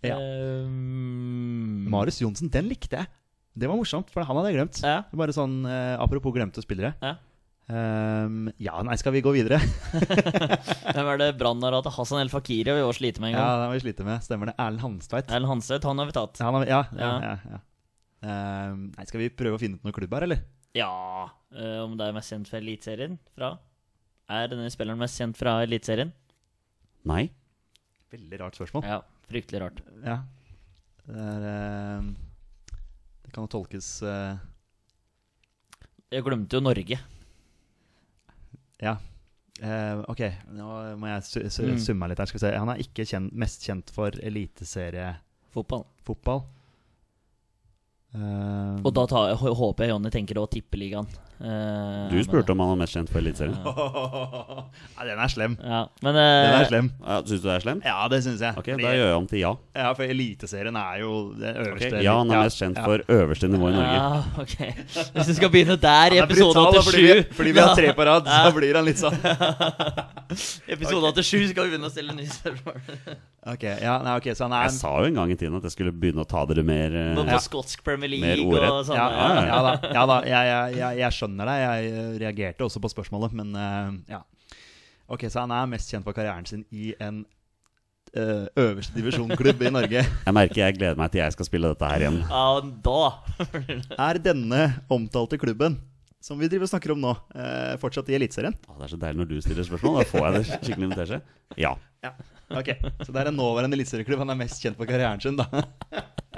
[SPEAKER 2] ja.
[SPEAKER 3] Ehm,
[SPEAKER 2] Marius Johnsen, den likte jeg. Det var morsomt, for han hadde jeg glemt.
[SPEAKER 3] Ja.
[SPEAKER 2] Bare sånn, eh, Apropos glemte spillere.
[SPEAKER 3] Ja.
[SPEAKER 2] Ehm, ja, nei, skal vi gå videre?
[SPEAKER 3] Hvem er det Brann har hatt? Hassan El Fakiri har vi også slitt med en gang.
[SPEAKER 2] Ja, det må vi slite med. Stemmer det. Erlend Hanstveit.
[SPEAKER 3] Erlend Hanseth, han har vi tatt.
[SPEAKER 2] Han har, ja, ja,
[SPEAKER 3] Ja.
[SPEAKER 2] ja, ja. Ehm, nei, skal vi prøve å finne ut noen klubb her, eller?
[SPEAKER 3] Ja eh, Om det er mest kjent fra Eliteserien? Fra? Er denne spilleren mest kjent fra Eliteserien?
[SPEAKER 1] Nei.
[SPEAKER 2] Veldig rart spørsmål.
[SPEAKER 3] Ja, fryktelig rart.
[SPEAKER 2] Ja. Det, er, ehm, det kan jo tolkes eh,
[SPEAKER 3] Jeg glemte jo Norge.
[SPEAKER 2] Ja. Eh, ok, nå må jeg su su
[SPEAKER 3] Mm.
[SPEAKER 2] summe meg litt her. Skal vi se. Han er ikke kjent, mest kjent for eliteseriefotball.
[SPEAKER 3] Fotball.
[SPEAKER 2] Ehm,
[SPEAKER 3] Og da tar jeg, hå- håper jeg Jonny tenker å tippeligaen. Eh,
[SPEAKER 1] Du spurte om han var mest kjent for Eliteserien.
[SPEAKER 2] ja, Den er slem.
[SPEAKER 3] Men, ja, men
[SPEAKER 2] Den
[SPEAKER 3] eh,
[SPEAKER 2] er slem.
[SPEAKER 1] Ja, Syns du det er slemt?
[SPEAKER 2] Ja, det syns jeg.
[SPEAKER 1] Ok,
[SPEAKER 2] Fordi-
[SPEAKER 1] da gjør jeg om til ja.
[SPEAKER 2] ja, for Eliteserien er jo det øverste
[SPEAKER 1] Ja, han er mest kjent
[SPEAKER 2] ja.
[SPEAKER 1] for øverste nivå i Norge.
[SPEAKER 3] Ja, ok Hvis du skal begynne der
[SPEAKER 2] Han
[SPEAKER 3] i
[SPEAKER 2] er
[SPEAKER 3] episode
[SPEAKER 2] brutal, da, fordi vi,
[SPEAKER 3] 87
[SPEAKER 2] fordi vi har tre på rad, så blir han litt sånn
[SPEAKER 3] I episode 87 skal vi begynne å stille nye spørsmål.
[SPEAKER 2] Ok, ja, nei, ok, så han er
[SPEAKER 1] Jeg sa jo en gang i tiden at jeg skulle begynne å ta dere mer eh,
[SPEAKER 3] På skotsk Premier
[SPEAKER 1] Mer
[SPEAKER 3] League
[SPEAKER 1] ordrett.
[SPEAKER 3] og sånn.
[SPEAKER 2] ja, ja,
[SPEAKER 1] ja,
[SPEAKER 2] ja da, ja, da jeg, jeg, jeg, jeg skjønner deg. Jeg eh, reagerte også på spørsmålet, men eh, ja. Ok, Så han er mest kjent for karrieren sin i en eh, øverste divisjonklubb i Norge.
[SPEAKER 1] Jeg merker jeg gleder meg til jeg skal spille dette her igjen.
[SPEAKER 3] Ja, da
[SPEAKER 2] Er denne omtalte klubben, som vi driver og snakker om nå, eh, fortsatt i Eliteserien?
[SPEAKER 1] Å, det er så deilig når du stiller spørsmål. Da får jeg det skikkelig invitasje. Ja.
[SPEAKER 2] Ok, Så det er en nåværende eliteserieklubb han er mest kjent for karrieren sin, da.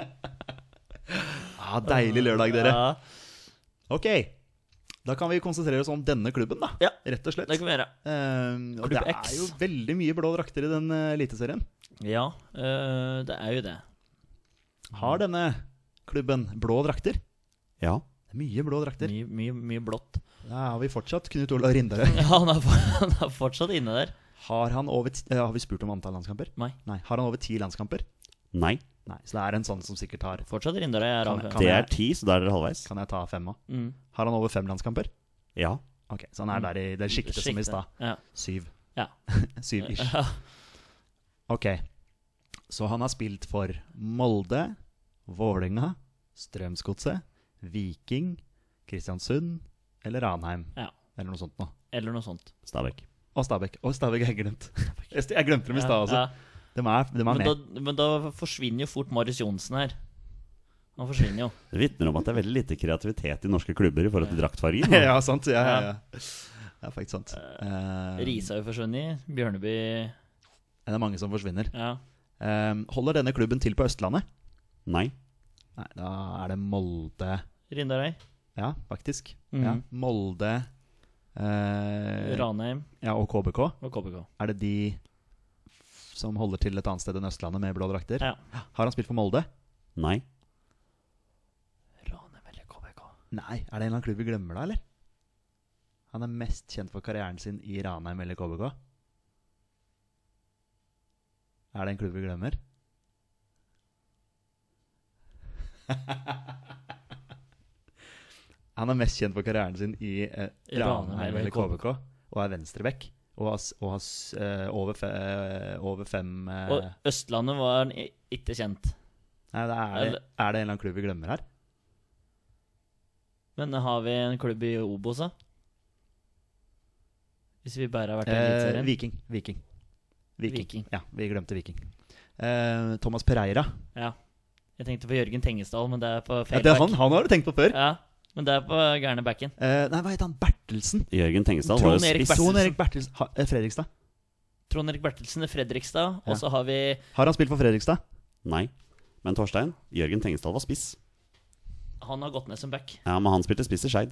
[SPEAKER 2] Ah, deilig lørdag, dere.
[SPEAKER 3] Ja,
[SPEAKER 2] Ok, da kan vi konsentrere oss om denne klubben, da.
[SPEAKER 3] Ja.
[SPEAKER 2] Rett og slett.
[SPEAKER 3] det kan vi gjøre.
[SPEAKER 2] Eh, og
[SPEAKER 3] Klubb
[SPEAKER 2] det er
[SPEAKER 3] X.
[SPEAKER 2] jo veldig mye blå drakter i den eh, eliteserien.
[SPEAKER 3] Ja, øh, det er jo det. Mm.
[SPEAKER 2] Har denne klubben blå drakter?
[SPEAKER 1] Ja.
[SPEAKER 2] Det er mye blå drakter.
[SPEAKER 3] Mye, mye, mye blått.
[SPEAKER 2] Da har vi fortsatt Knut Olav Rindarød.
[SPEAKER 3] Ja, han er, for, han er fortsatt inne der.
[SPEAKER 2] Har, han over ti- eh, har vi spurt om antall landskamper?
[SPEAKER 3] Nei.
[SPEAKER 2] Har han over ti landskamper?
[SPEAKER 1] Nei.
[SPEAKER 2] Nei, så det er en sånn som sikkert har
[SPEAKER 3] Fortsatt Rindarøy er
[SPEAKER 2] Kan-
[SPEAKER 3] av.
[SPEAKER 2] kan-
[SPEAKER 1] Det er ti, så da er dere halvveis.
[SPEAKER 2] Kan jeg ta fem òg?
[SPEAKER 3] Mm.
[SPEAKER 2] Har han over fem landskamper?
[SPEAKER 1] Ja.
[SPEAKER 2] Ok, Så han er der i det sjiktet som i
[SPEAKER 3] Sjiktet.
[SPEAKER 2] stad.
[SPEAKER 3] Ja.
[SPEAKER 2] Syv.
[SPEAKER 3] Mm. Ja. Eh,
[SPEAKER 2] Syv ish.
[SPEAKER 3] Ja.
[SPEAKER 2] Ok. Så han har spilt for Molde, Vålerenga, Strømsgodset, Viking, Kristiansund eller Ranheim.
[SPEAKER 3] Ja.
[SPEAKER 2] Eller noe sånt noe.
[SPEAKER 3] Eller noe sånt.
[SPEAKER 1] Stabæk.
[SPEAKER 2] Og Stabæk. Og Stabæk har jeg glemt. Jeg st- jeg glemte dem i stad også.
[SPEAKER 3] Ja,
[SPEAKER 2] De er, de er
[SPEAKER 3] Men,
[SPEAKER 2] med.
[SPEAKER 3] da, men da forsvinner jo fort Marius Johnsen her. Han forsvinner jo.
[SPEAKER 1] Det vitner om at det er veldig lite kreativitet i norske klubber i forhold til draktfargen. da.
[SPEAKER 2] ja, sant. Ja, ja, ja. Det er faktisk sant. Eh,
[SPEAKER 3] Risa har jo forsvunnet. Bjørneby
[SPEAKER 2] det er mange som forsvinner.
[SPEAKER 3] Ja.
[SPEAKER 2] Eh, holder denne klubben til på Østlandet?
[SPEAKER 1] Nei.
[SPEAKER 2] Nei, da er det Molde
[SPEAKER 3] Rindarøy.
[SPEAKER 2] Ja, faktisk.
[SPEAKER 3] Mhm.
[SPEAKER 2] Ja, Molde eh,
[SPEAKER 3] Ranheim
[SPEAKER 2] ja, og KBK.
[SPEAKER 3] og KBK.
[SPEAKER 2] Er det de f- som holder til et annet sted enn Østlandet med blå drakter?
[SPEAKER 3] Ja.
[SPEAKER 2] Har han spilt for Molde?
[SPEAKER 1] Nei.
[SPEAKER 3] Ranheim eller KBK?
[SPEAKER 2] Nei. Er det en eller annen klubb vi glemmer, da, eller? Han er mest kjent for karrieren sin i Ranheim eller KBK. Er det en klubb vi glemmer? Han er mest kjent for karrieren sin i eh, Ranheim eller KBK, og er venstreback. Og har, s- og har s- eh, over, fe, eh, over fem eh,
[SPEAKER 3] Og Østlandet var han i- ikke kjent.
[SPEAKER 2] Nei, det er, er det en
[SPEAKER 3] eller-
[SPEAKER 2] eller annen klubb vi glemmer her?
[SPEAKER 3] Men har vi en klubb i Obos, da? Hvis vi bare har vært i
[SPEAKER 2] Eh,
[SPEAKER 3] Eliteserien?
[SPEAKER 2] Viking. Viking. Viking.
[SPEAKER 3] Viking.
[SPEAKER 2] Ja, vi glemte Viking. Eh, Thomas Pereira.
[SPEAKER 3] ja. Jeg tenkte på Jørgen Tengesdal, men det er på
[SPEAKER 2] Ja,
[SPEAKER 3] feil
[SPEAKER 2] det er
[SPEAKER 3] back.
[SPEAKER 2] han, han har du tenkt på før.
[SPEAKER 3] Ja, men det er på gærne backen.
[SPEAKER 2] Eh, nei, hva heter han? Bertelsen?
[SPEAKER 1] Jørgen Tengesdal var jo
[SPEAKER 3] Trond Erik
[SPEAKER 1] spiss.
[SPEAKER 3] Bertelsen.
[SPEAKER 2] Jon Erik Bertelsen. Ha, eh, Fredrikstad.
[SPEAKER 3] Trond Erik Bertelsen i Fredrikstad.
[SPEAKER 2] Ja.
[SPEAKER 3] Og så har vi
[SPEAKER 2] Har han spilt for Fredrikstad?
[SPEAKER 1] Nei. Men Torstein, Jørgen Tengesdal var spiss.
[SPEAKER 3] Han har gått ned som back.
[SPEAKER 1] Ja, Men han spilte spiss i Skeid.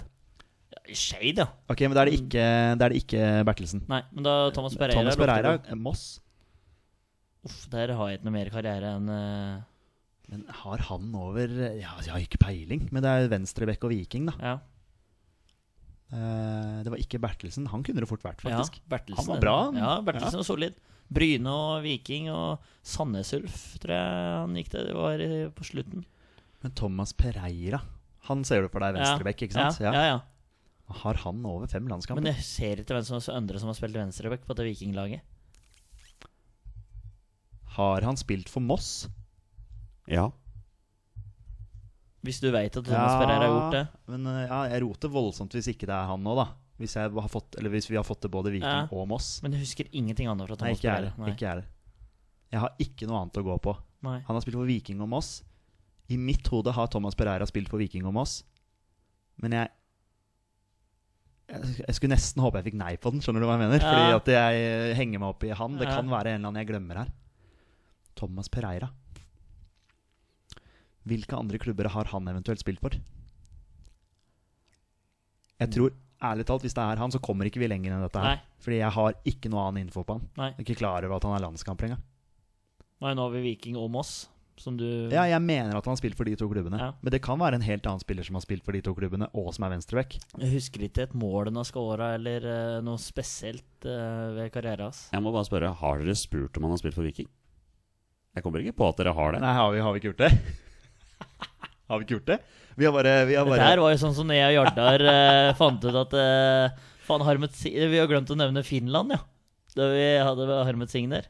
[SPEAKER 3] Ja, Skeid, ja.
[SPEAKER 2] Ok, men da er det ikke, da er det ikke Bertelsen.
[SPEAKER 3] Nei, men da Mm. Thomas Pereira
[SPEAKER 2] Thomas
[SPEAKER 3] lukter
[SPEAKER 2] Pereira,
[SPEAKER 3] god.
[SPEAKER 2] eh, Moss.
[SPEAKER 3] Uff, der har jeg ikke noe mer karriere enn eh,
[SPEAKER 2] Men har han over Ja, jeg har ikke peiling, men det er Venstrebekk og Viking, da.
[SPEAKER 3] Ja.
[SPEAKER 2] Eh, det var ikke Bertelsen. Han kunne det fort vært, faktisk.
[SPEAKER 3] Ja, Bertelsen.
[SPEAKER 2] Han var bra, han.
[SPEAKER 3] Ja, Bertelsen var solid. Bryne og Viking og Sandnes Ulf, tror jeg han gikk til. Det var i- på slutten.
[SPEAKER 2] Men Thomas Pereira Han ser du for deg Venstrebekk, ikke sant?
[SPEAKER 3] Ja, ja, ja.
[SPEAKER 2] Har han over fem landskamper?
[SPEAKER 3] Men jeg ser ikke hvem som er andre som har spilt venstreback på det vikinglaget.
[SPEAKER 2] Har han spilt for Moss?
[SPEAKER 1] Ja.
[SPEAKER 3] Hvis du veit at Thomas
[SPEAKER 2] Ja.
[SPEAKER 3] Pereira har gjort det.
[SPEAKER 2] Men eh, ja, jeg roter voldsomt hvis ikke det er han nå, da. Hvis, jeg har fått, eller hvis vi har fått til både Viking
[SPEAKER 3] Ja.
[SPEAKER 2] og Moss.
[SPEAKER 3] Men jeg husker ingenting annet fra
[SPEAKER 2] Nei,
[SPEAKER 3] Thomas
[SPEAKER 2] ikke jeg
[SPEAKER 3] Pereira.
[SPEAKER 2] heller. Ikke jeg heller. Jeg har ikke noe annet å gå på.
[SPEAKER 3] Nei.
[SPEAKER 2] Han har spilt for Viking og Moss. I mitt hode har Thomas Pereira spilt for Viking og Moss, men jeg jeg jeg skulle nesten håpe jeg fikk nei på den, skjønner du hva jeg mener? Fordi
[SPEAKER 3] Ja.
[SPEAKER 2] at jeg eh, henger meg opp i han. Det
[SPEAKER 3] Ja.
[SPEAKER 2] kan være en eller annen jeg glemmer her. Thomas Pereira. Hvilke andre klubber har han eventuelt spilt for? Jeg tror, ærlig talt, hvis det er han, så kommer ikke vi lenger enn dette her.
[SPEAKER 3] Mm. Nei.
[SPEAKER 2] Fordi jeg har ikke noe annen info på han.
[SPEAKER 3] Nei.
[SPEAKER 2] Jeg er ikke klar over at han er landskamper engang.
[SPEAKER 3] Nei, nå har vi Viking og Moss, som du
[SPEAKER 2] Ja, jeg mener at han har spilt for de to klubbene.
[SPEAKER 3] Ja.
[SPEAKER 2] Men det kan være en helt annen spiller som har spilt for de to klubbene, og som er venstreback.
[SPEAKER 3] Jeg husker ikke et mål han har scora, eller eh, noe spesielt eh, ved karrieren hans.
[SPEAKER 1] Jeg må bare spørre, har dere spurt om han har spilt for Viking? Jeg kommer ikke på at dere har det.
[SPEAKER 2] Nei, har vi, har vi ikke gjort det? har vi ikke gjort det? Vi har bare, vi har
[SPEAKER 3] Det
[SPEAKER 2] bare
[SPEAKER 3] her var jo sånn som jeg og Jardar eh, fant ut at eh, Faen, Harmet Si- Vi har glemt å nevne Finland, ja. Da vi hadde Harmet Singh der.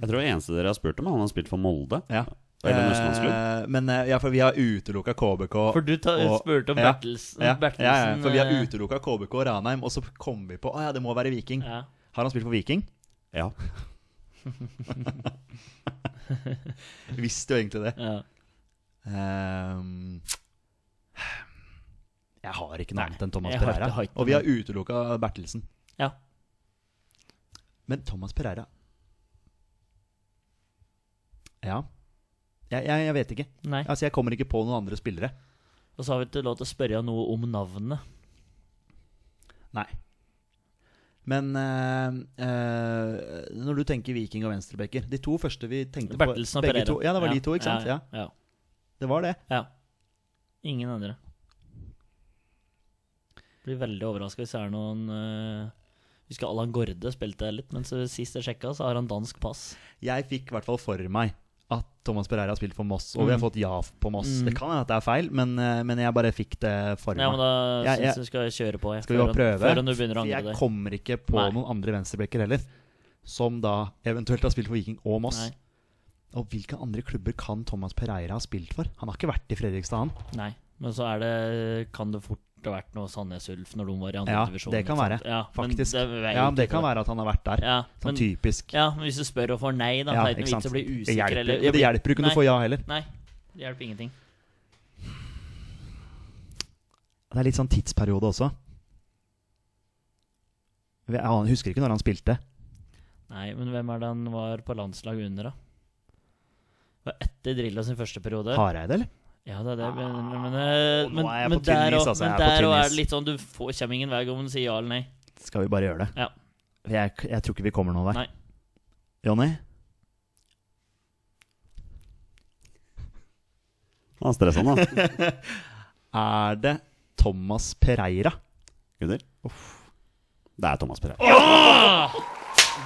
[SPEAKER 1] Jeg tror det eneste dere har spurt om, er om han har spilt for Molde.
[SPEAKER 2] ja.
[SPEAKER 1] Eller en østlandsklubb.
[SPEAKER 2] Eh, men eh, ja, for vi har utelukka KBK
[SPEAKER 3] For du ta,
[SPEAKER 2] og-
[SPEAKER 3] spurte om
[SPEAKER 2] ja,
[SPEAKER 3] Bertelsen.
[SPEAKER 2] ja, ja,
[SPEAKER 3] Bertelsen
[SPEAKER 2] ja, for vi har
[SPEAKER 3] eh,
[SPEAKER 2] utelukka KBK og Ranheim, og så kom vi på Å ja, det må være Viking.
[SPEAKER 3] ja.
[SPEAKER 2] Har han spilt for Viking?
[SPEAKER 1] Ja.
[SPEAKER 2] Visste jo egentlig det.
[SPEAKER 3] Ja.
[SPEAKER 2] Ehm, jeg har ikke noe
[SPEAKER 3] Nei,
[SPEAKER 2] annet enn Thomas
[SPEAKER 3] jeg har
[SPEAKER 2] Pereira.
[SPEAKER 3] ikke- har ikke
[SPEAKER 2] og vi
[SPEAKER 3] noe.
[SPEAKER 2] har utelukka Bertelsen.
[SPEAKER 3] Ja.
[SPEAKER 2] Men Thomas Pereira Ja. Jeg, jeg, jeg vet ikke.
[SPEAKER 3] Nei.
[SPEAKER 2] Altså, Jeg kommer ikke på noen andre spillere.
[SPEAKER 3] Og så har vi ikke lov til å spørre noe om navnet.
[SPEAKER 2] Nei. Men eh, eh, når du tenker Viking og venstrebacker De to første vi tenkte på
[SPEAKER 3] Bertelsen og
[SPEAKER 2] begge
[SPEAKER 3] Pereira.
[SPEAKER 2] to- Ja, det var de to, ikke sant? Ja,
[SPEAKER 3] Ja, ja.
[SPEAKER 2] Det var det.
[SPEAKER 3] ja. Ingen andre. Blir veldig overraska hvis det er noen eh, Husker Allan Gårde spilte der litt, men så sist jeg sjekka, så har han dansk pass.
[SPEAKER 2] Jeg fikk i hvert fall for meg at Thomas Pereira har spilt for Moss, og vi
[SPEAKER 3] Mm.
[SPEAKER 2] har fått ja på Moss. Det kan hende at det er feil, men, eh, men jeg bare fikk det for meg.
[SPEAKER 3] Ja, men da
[SPEAKER 2] Jeg-
[SPEAKER 3] syns
[SPEAKER 2] jeg-
[SPEAKER 3] jeg du skal kjøre på. Jeg,
[SPEAKER 2] Skal vi bare
[SPEAKER 3] før han-
[SPEAKER 2] prøve?
[SPEAKER 3] Før han du begynner å
[SPEAKER 2] For
[SPEAKER 3] angre
[SPEAKER 2] jeg
[SPEAKER 3] deg.
[SPEAKER 2] kommer ikke på
[SPEAKER 3] Nei.
[SPEAKER 2] noen andre venstrebekker heller, som da eventuelt har spilt for Viking og Moss.
[SPEAKER 3] Nei.
[SPEAKER 2] Og hvilke andre klubber kan Thomas Pereira ha spilt for? Han har ikke vært i Fredrikstad, han.
[SPEAKER 3] Nei. Men så er det Kan det fort det vært noe Sandnes Ulf når de var i andre
[SPEAKER 2] Ja,
[SPEAKER 3] divisjon.
[SPEAKER 2] det kan
[SPEAKER 3] ikke sant?
[SPEAKER 2] være,
[SPEAKER 3] Ja, men
[SPEAKER 2] faktisk.
[SPEAKER 3] det vet
[SPEAKER 2] Ja, men det
[SPEAKER 3] ikke
[SPEAKER 2] kan
[SPEAKER 3] det.
[SPEAKER 2] være at han har vært der.
[SPEAKER 3] Ja,
[SPEAKER 2] Sånn
[SPEAKER 3] men,
[SPEAKER 2] typisk.
[SPEAKER 3] ja, men hvis du spør og får nei, da
[SPEAKER 2] Ja,
[SPEAKER 3] er det ikke noe vits å bli
[SPEAKER 2] Det
[SPEAKER 3] usikker.
[SPEAKER 2] hjelper,
[SPEAKER 3] eller,
[SPEAKER 2] men det hjelper jo ikke når
[SPEAKER 3] nei,
[SPEAKER 2] du får ja heller.
[SPEAKER 3] Nei, det hjelper ingenting.
[SPEAKER 2] Det er litt sånn tidsperiode også. Jeg aner- husker ikke når han spilte.
[SPEAKER 3] Nei, men hvem er det han var på landslag under, da? Det var etter Drillo sin første periode.
[SPEAKER 2] Hareide, eller?
[SPEAKER 3] Ja, det er det, men, men, men, eh,
[SPEAKER 2] nå
[SPEAKER 3] men,
[SPEAKER 2] er jeg på
[SPEAKER 3] men
[SPEAKER 2] tynn
[SPEAKER 3] der
[SPEAKER 2] is,
[SPEAKER 3] òg
[SPEAKER 2] altså, jeg er på
[SPEAKER 3] er
[SPEAKER 2] tynn
[SPEAKER 3] det
[SPEAKER 2] is.
[SPEAKER 3] litt sånn du får kommer ingen vei om du sier ja eller nei.
[SPEAKER 2] Skal vi bare gjøre det?
[SPEAKER 3] Ja.
[SPEAKER 2] Jeg, jeg tror ikke vi kommer noen vei.
[SPEAKER 3] Nei.
[SPEAKER 2] Jonny?
[SPEAKER 1] Han er stressa nå,
[SPEAKER 2] Er det Thomas Pereira?
[SPEAKER 1] Gunnar. Det er Thomas Pereira.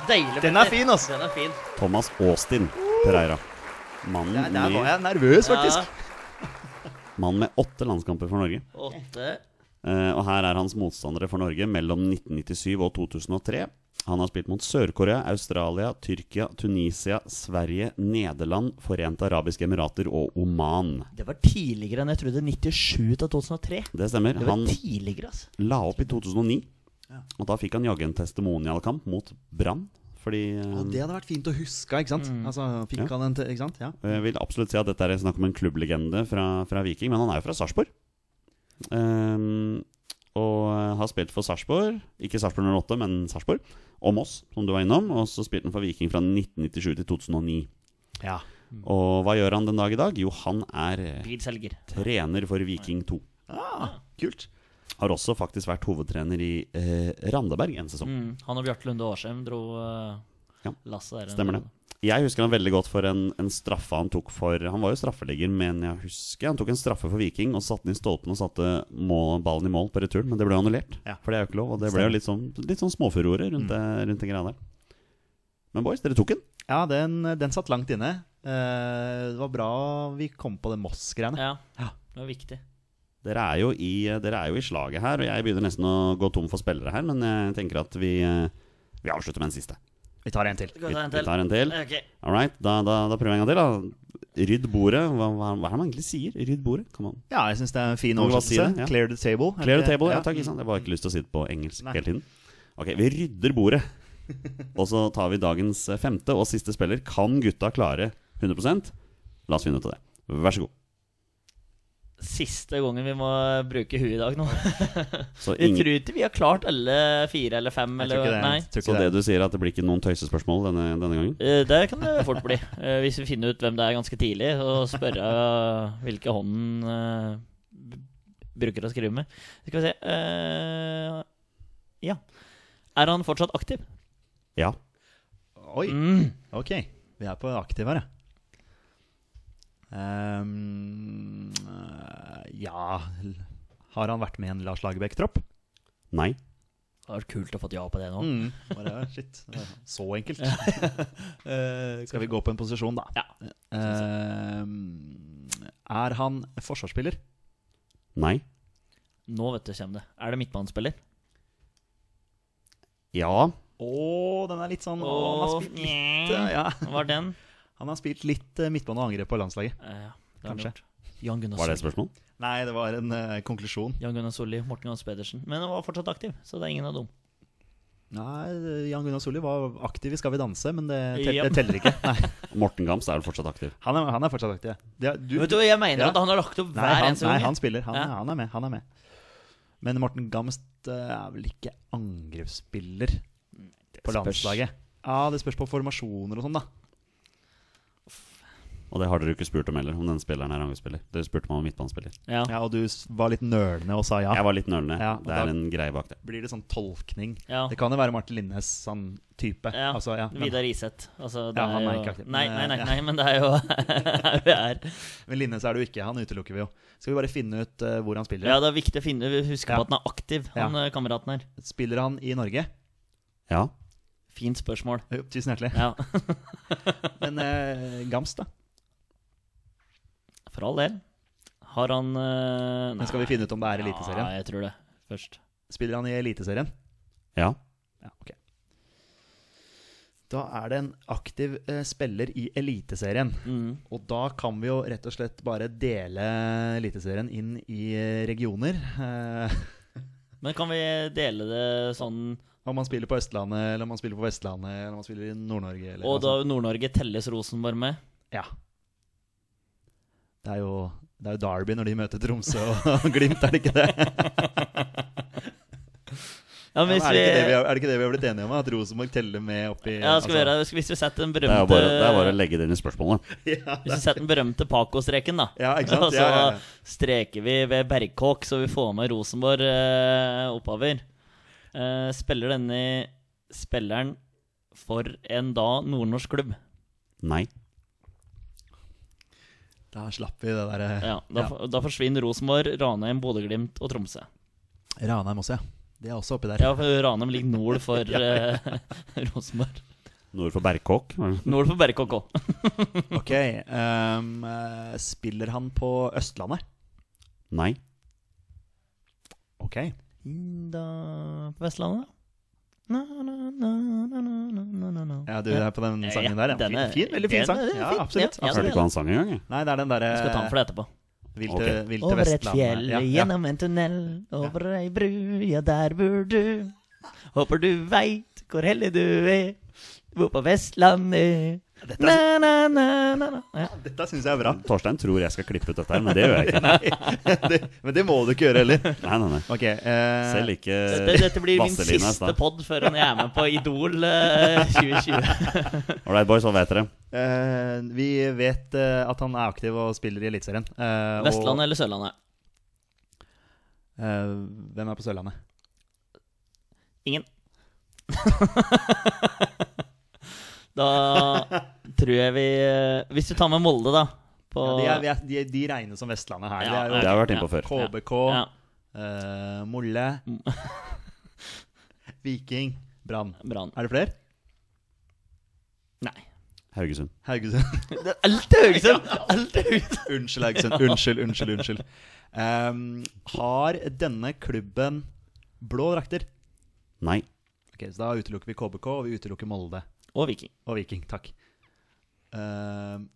[SPEAKER 3] Deilig.
[SPEAKER 2] Den er
[SPEAKER 3] Petter.
[SPEAKER 2] fin, altså.
[SPEAKER 3] Den er fin.
[SPEAKER 1] Thomas Austin Pereira. Mannen
[SPEAKER 2] Der, der var
[SPEAKER 1] med,
[SPEAKER 2] jeg nervøs, faktisk.
[SPEAKER 1] mann med åtte landskamper for Norge.
[SPEAKER 3] Ja, åtte.
[SPEAKER 1] Eh, og her er hans motstandere for Norge mellom 1997 og 2003. Han har spilt mot Sør-Korea, Australia, Tyrkia, Tunisia, Sverige, Nederland, Forente arabiske emirater og Oman.
[SPEAKER 3] Det var tidligere enn jeg trodde. 97 til 2003.
[SPEAKER 1] Det stemmer.
[SPEAKER 3] Det var
[SPEAKER 1] Han
[SPEAKER 3] tidligere, altså.
[SPEAKER 1] la opp i 2009, og da fikk han jaggu en testimonialkamp mot Brann. Fordi eh,
[SPEAKER 2] Ja, det hadde vært fint å huske, ikke sant?
[SPEAKER 1] Mm.
[SPEAKER 2] Altså, fikk han en til, ikke sant? Ja.
[SPEAKER 1] Og Jeg Eh, vil absolutt si at dette er snakk om en klubblegende fra, fra Viking, men han er jo fra Sarpsborg. Ehm, og eh, har spilt for Sarpsborg, ikke Sarpsborg 08, men Sarpsborg, og Moss, som du var innom. Og så spilte han for Viking fra 1997 til 2009.
[SPEAKER 2] ja.
[SPEAKER 1] Og hva gjør han den dag i dag? Jo, han er eh,
[SPEAKER 3] Bilselger.
[SPEAKER 1] trener for Viking 2.
[SPEAKER 2] Ah, Kult.
[SPEAKER 1] Har også faktisk vært hovedtrener i eh, Randaberg en sesong.
[SPEAKER 3] Mm. Han og Bjarte Lunde Årsheim dro eh,
[SPEAKER 1] Ja,
[SPEAKER 3] lasset der.
[SPEAKER 1] Stemmer det. Jeg husker han veldig godt for en, en straffe han tok for Han var jo straffelegger, men jeg husker han tok en straffe for Viking og satte den i stolpen og satte mål, ballen i mål på returen, men det ble annullert.
[SPEAKER 2] Ja.
[SPEAKER 1] For det er jo ikke lov. Og det ble jo litt sånn, litt sånn småfurore rundt, det- rundt den greia der. Men boys, dere tok den.
[SPEAKER 2] Ja, den, den satt langt inne. Eh, det var bra vi kom på det Moss-greiene.
[SPEAKER 3] Ja.
[SPEAKER 2] Ja.
[SPEAKER 3] det var viktig.
[SPEAKER 1] Dere er, jo i, dere er jo i slaget her, og jeg begynner nesten å gå tom for spillere her, men jeg tenker at vi, eh, vi avslutter med en siste.
[SPEAKER 2] Vi tar en til.
[SPEAKER 3] Skal
[SPEAKER 1] Vi,
[SPEAKER 3] vi ta en
[SPEAKER 1] vi
[SPEAKER 3] til?
[SPEAKER 1] tar en til.
[SPEAKER 3] Ok.
[SPEAKER 1] All right, da, da, da prøver jeg en gang til. da. Rydd bordet. Hva, hva, hva er det man egentlig sier? Rydd bordet? Kan man
[SPEAKER 2] Ja, jeg syns det Mm. er en fin
[SPEAKER 1] Må vi bare si
[SPEAKER 2] oversettelse.
[SPEAKER 1] det, ja.
[SPEAKER 2] Clear the table. er det
[SPEAKER 1] Clear the
[SPEAKER 2] ikke-
[SPEAKER 1] table, ja takk. Ikke sant? Jeg har bare ikke lyst til å si det på engelsk
[SPEAKER 2] Nei.
[SPEAKER 1] hele tiden. Ok, Vi rydder bordet. Og så tar vi dagens eh, femte og siste spiller. Kan gutta klare 100 La oss finne ut av det. Vær så god.
[SPEAKER 3] Siste gangen vi må bruke huet i dag nå.
[SPEAKER 1] Så,
[SPEAKER 3] Jeg
[SPEAKER 1] ingen,
[SPEAKER 3] tror ikke vi har klart alle fire eller fem.
[SPEAKER 2] Jeg
[SPEAKER 3] Eller,
[SPEAKER 2] tror ikke det.
[SPEAKER 3] Nei.
[SPEAKER 2] jeg Tror
[SPEAKER 1] så
[SPEAKER 2] ikke
[SPEAKER 1] det
[SPEAKER 2] det.
[SPEAKER 1] du sier, at det blir ikke noen tøysespørsmål denne, denne gangen?
[SPEAKER 3] Eh, Det kan det fort bli. Eh, Hvis vi finner ut hvem det er ganske tidlig, og spørre eh, hvilke hånden eh, b- bruker å skrive med. Skal vi se eh, Ja. Er han fortsatt aktiv?
[SPEAKER 1] Ja.
[SPEAKER 2] Oi.
[SPEAKER 3] Mm.
[SPEAKER 2] Ok, vi er på aktiv her, ja. Ehm, eh, ja l- Har han vært med i en Lars Lagerbäck-tropp?
[SPEAKER 1] Nei.
[SPEAKER 3] Det hadde vært kult å få et ja på det nå.
[SPEAKER 2] Mm. Bare, shit. det var Så enkelt. Eh, Skal vi gå på en posisjon, da?
[SPEAKER 3] Ja.
[SPEAKER 2] Ehm, er han forsvarsspiller?
[SPEAKER 1] Nei.
[SPEAKER 3] Nå vet du kommer det. Er det midtbanespiller?
[SPEAKER 1] Ja.
[SPEAKER 2] Å, den er litt sånn å, Han har spilt litt, eh, ja.
[SPEAKER 3] Var den?
[SPEAKER 2] han har spilt litt eh, midtbane og angrep på landslaget.
[SPEAKER 3] Eh, ja, det har han
[SPEAKER 2] Kanskje.
[SPEAKER 3] gjort. Jan Gunnar
[SPEAKER 1] Var det et
[SPEAKER 3] Solli.
[SPEAKER 1] spørsmål?
[SPEAKER 2] Nei, det var en eh, konklusjon.
[SPEAKER 3] Jan Gunnar Solli, Morten Gans Pedersen. Men han var fortsatt aktiv, så det er ingen av dem.
[SPEAKER 2] Nei, Jan Gunnar Solli var aktiv i Skal vi danse, men det, tel
[SPEAKER 3] Ja.
[SPEAKER 2] det teller ikke. Nei.
[SPEAKER 1] Morten Gams er vel fortsatt aktiv.
[SPEAKER 2] Han er, han er fortsatt aktiv. Det er- du-
[SPEAKER 3] Vet du hva jeg mener?
[SPEAKER 2] Ja.
[SPEAKER 3] At han har lagt opp
[SPEAKER 2] nei,
[SPEAKER 3] hver
[SPEAKER 2] han,
[SPEAKER 3] eneste
[SPEAKER 2] nei,
[SPEAKER 3] gang.
[SPEAKER 2] han spiller. Han,
[SPEAKER 3] Ja.
[SPEAKER 2] han er med. Han er med. Men Morten Gamst eh, er vel ikke angrepsspiller på landslaget? Ja, det spørs på formasjoner og sånn, da.
[SPEAKER 1] Og det har dere jo ikke spurt om heller, om denne spilleren er angrepsspiller. Dere spurte meg om midtbanespiller.
[SPEAKER 3] Ja.
[SPEAKER 2] Ja, Og du s- var litt nølende og sa ja.
[SPEAKER 1] Jeg var litt nølende.
[SPEAKER 2] Ja, og
[SPEAKER 1] det
[SPEAKER 2] da-
[SPEAKER 1] er en greie bak det.
[SPEAKER 2] Blir det sånn tolkning?
[SPEAKER 3] Ja.
[SPEAKER 2] Det kan jo være Martin Linnes sånn type.
[SPEAKER 3] Ja,
[SPEAKER 2] Altså, ja, men,
[SPEAKER 3] Vidar Iseth. Altså, det
[SPEAKER 2] Ja, han er
[SPEAKER 3] jo-
[SPEAKER 2] ikke aktiv, men,
[SPEAKER 3] Nei, nei, nei,
[SPEAKER 2] ja.
[SPEAKER 3] nei, men det er jo her vi er.
[SPEAKER 2] men Linnes er det jo ikke. Han utelukker vi jo. Skal vi bare finne ut eh, hvor han spiller?
[SPEAKER 3] Ja, det er viktig å finne, huske
[SPEAKER 2] Ja.
[SPEAKER 3] på at han er aktiv, han eh, kameraten her.
[SPEAKER 2] Spiller han i Norge?
[SPEAKER 1] Ja.
[SPEAKER 3] Fint spørsmål.
[SPEAKER 2] Jo, tusen hjertelig.
[SPEAKER 3] Ja,
[SPEAKER 2] Men eh, Gamst, da?
[SPEAKER 3] for all del. Har han eh,
[SPEAKER 2] Men skal vi finne ut om det er Eliteserien?
[SPEAKER 3] Ja, jeg tror det. Først.
[SPEAKER 2] Spiller han i Eliteserien?
[SPEAKER 1] Ja.
[SPEAKER 2] Ja, ok Da er det en aktiv eh, spiller i Eliteserien.
[SPEAKER 3] Mhm.
[SPEAKER 2] Og da kan vi jo rett og slett bare dele Eliteserien inn i eh, regioner. Eh,
[SPEAKER 3] Men kan vi dele det sånn
[SPEAKER 2] om man spiller på Østlandet, eller om man spiller på Vestlandet, eller om man spiller i Nord-Norge. eller altså-
[SPEAKER 3] Og
[SPEAKER 2] noe
[SPEAKER 3] da
[SPEAKER 2] sånt.
[SPEAKER 3] Nord-Norge telles Rosenborg med?
[SPEAKER 2] Ja. Det er jo, det er jo Derby når de møter Tromsø og Glimt, er det ikke det?
[SPEAKER 3] Ja,
[SPEAKER 2] Ja, men er, det ikke det vi har, er det ikke det vi har blitt enige om? At Rosenborg teller med altså- oppi
[SPEAKER 3] Ja, skal vi gjøre det? Hvis vi setter den
[SPEAKER 1] Det er
[SPEAKER 3] berømte
[SPEAKER 1] jo bare, det er bare å legge det inn i spørsmålet.
[SPEAKER 2] Ja,
[SPEAKER 3] Hvis vi setter den berømte Paco-streken, da.
[SPEAKER 2] Ja, ikke sant?
[SPEAKER 3] Og så
[SPEAKER 2] Ja, ja, ja.
[SPEAKER 3] streker vi ved Bergkåk, så vi får med Rosenborg eh, oppover. Eh, spiller denne spilleren for en da nordnorsk klubb?
[SPEAKER 1] Nei.
[SPEAKER 2] Da slapp vi det eh, derre
[SPEAKER 3] Ja, da, da forsvinner Rosenborg, Ranheim, Bodø-Glimt og Tromsø.
[SPEAKER 2] Ranheim også, ja. Det er også oppi der.
[SPEAKER 3] Ja, for Ranheim ligger nord for eh, Rosenborg.
[SPEAKER 1] Nord for Berkåk.
[SPEAKER 3] Nord for Bergkåk òg.
[SPEAKER 2] Ok, ehm, eh, spiller han på Østlandet?
[SPEAKER 1] Nei.
[SPEAKER 2] Ok.
[SPEAKER 3] Da på Vestlandet, da? Na, na, na, na, na, na, na, na.
[SPEAKER 2] Ja, du er på den sangen der, ja.
[SPEAKER 3] den er-
[SPEAKER 2] Fin, fin, veldig fin
[SPEAKER 3] den
[SPEAKER 2] sang.
[SPEAKER 3] er
[SPEAKER 2] Ja,
[SPEAKER 3] fin.
[SPEAKER 2] absolutt. altså.
[SPEAKER 3] Ja, ja,
[SPEAKER 1] Hørte
[SPEAKER 2] absolutt.
[SPEAKER 1] ikke han sang engang. jeg.
[SPEAKER 2] Nei, det er den
[SPEAKER 3] Jeg skal ta den for
[SPEAKER 2] derre
[SPEAKER 3] det etterpå.
[SPEAKER 2] Vilte,
[SPEAKER 1] Ok.
[SPEAKER 2] vilte
[SPEAKER 3] Over et
[SPEAKER 2] Vestlandet.
[SPEAKER 3] fjell,
[SPEAKER 2] Ja, ja.
[SPEAKER 3] gjennom en tunnel, over ei bru, ja, der bor du. Håper du veit hvor heldig du er, bor på Vestlandet. Na, na, na, na, na. Ja.
[SPEAKER 2] Dette syns jeg er bra.
[SPEAKER 1] Torstein tror jeg skal klippe ut dette her, men det gjør jeg ikke.
[SPEAKER 2] det, men det må du ikke gjøre heller.
[SPEAKER 1] Nei, nei, nei.
[SPEAKER 2] Ok, eh,
[SPEAKER 1] Selv ikke
[SPEAKER 3] Dette, dette blir min
[SPEAKER 1] Vazelina i
[SPEAKER 3] siste
[SPEAKER 1] stad.
[SPEAKER 3] pod før jeg er med på Idol eh, 2020.
[SPEAKER 1] Ålreit, boys, hva vet dere?
[SPEAKER 2] eh, vi vet eh, at han er aktiv og spiller i Eliteserien. eh, og-
[SPEAKER 3] Vestlandet eller Sørlandet?
[SPEAKER 2] Eh, hvem er på Sørlandet?
[SPEAKER 3] Ingen. da tror jeg vi eh, Hvis du tar med Molde, da. På,
[SPEAKER 2] Ja, de, er, vi er, de, de regnes som Vestlandet her.
[SPEAKER 3] Ja,
[SPEAKER 2] det
[SPEAKER 1] Det
[SPEAKER 2] er
[SPEAKER 1] har vi vært innpå før.
[SPEAKER 2] jo KBK,
[SPEAKER 3] ja, Mm.
[SPEAKER 2] eh, Molle, Viking, Brann.
[SPEAKER 3] Brann.
[SPEAKER 2] Er det flere?
[SPEAKER 3] Nei.
[SPEAKER 1] Haugesund.
[SPEAKER 2] Haugesund.
[SPEAKER 3] Det er Alt er Haugesund! Alt er Haugesund!
[SPEAKER 2] unnskyld, Haugesund. Unnskyld, unnskyld, unnskyld. Ehm, har denne klubben blå drakter?
[SPEAKER 1] Nei.
[SPEAKER 2] Ok, Så da utelukker vi KBK, og vi utelukker Molde
[SPEAKER 3] sånn. Og Viking.
[SPEAKER 2] og Viking. Takk. Ehm,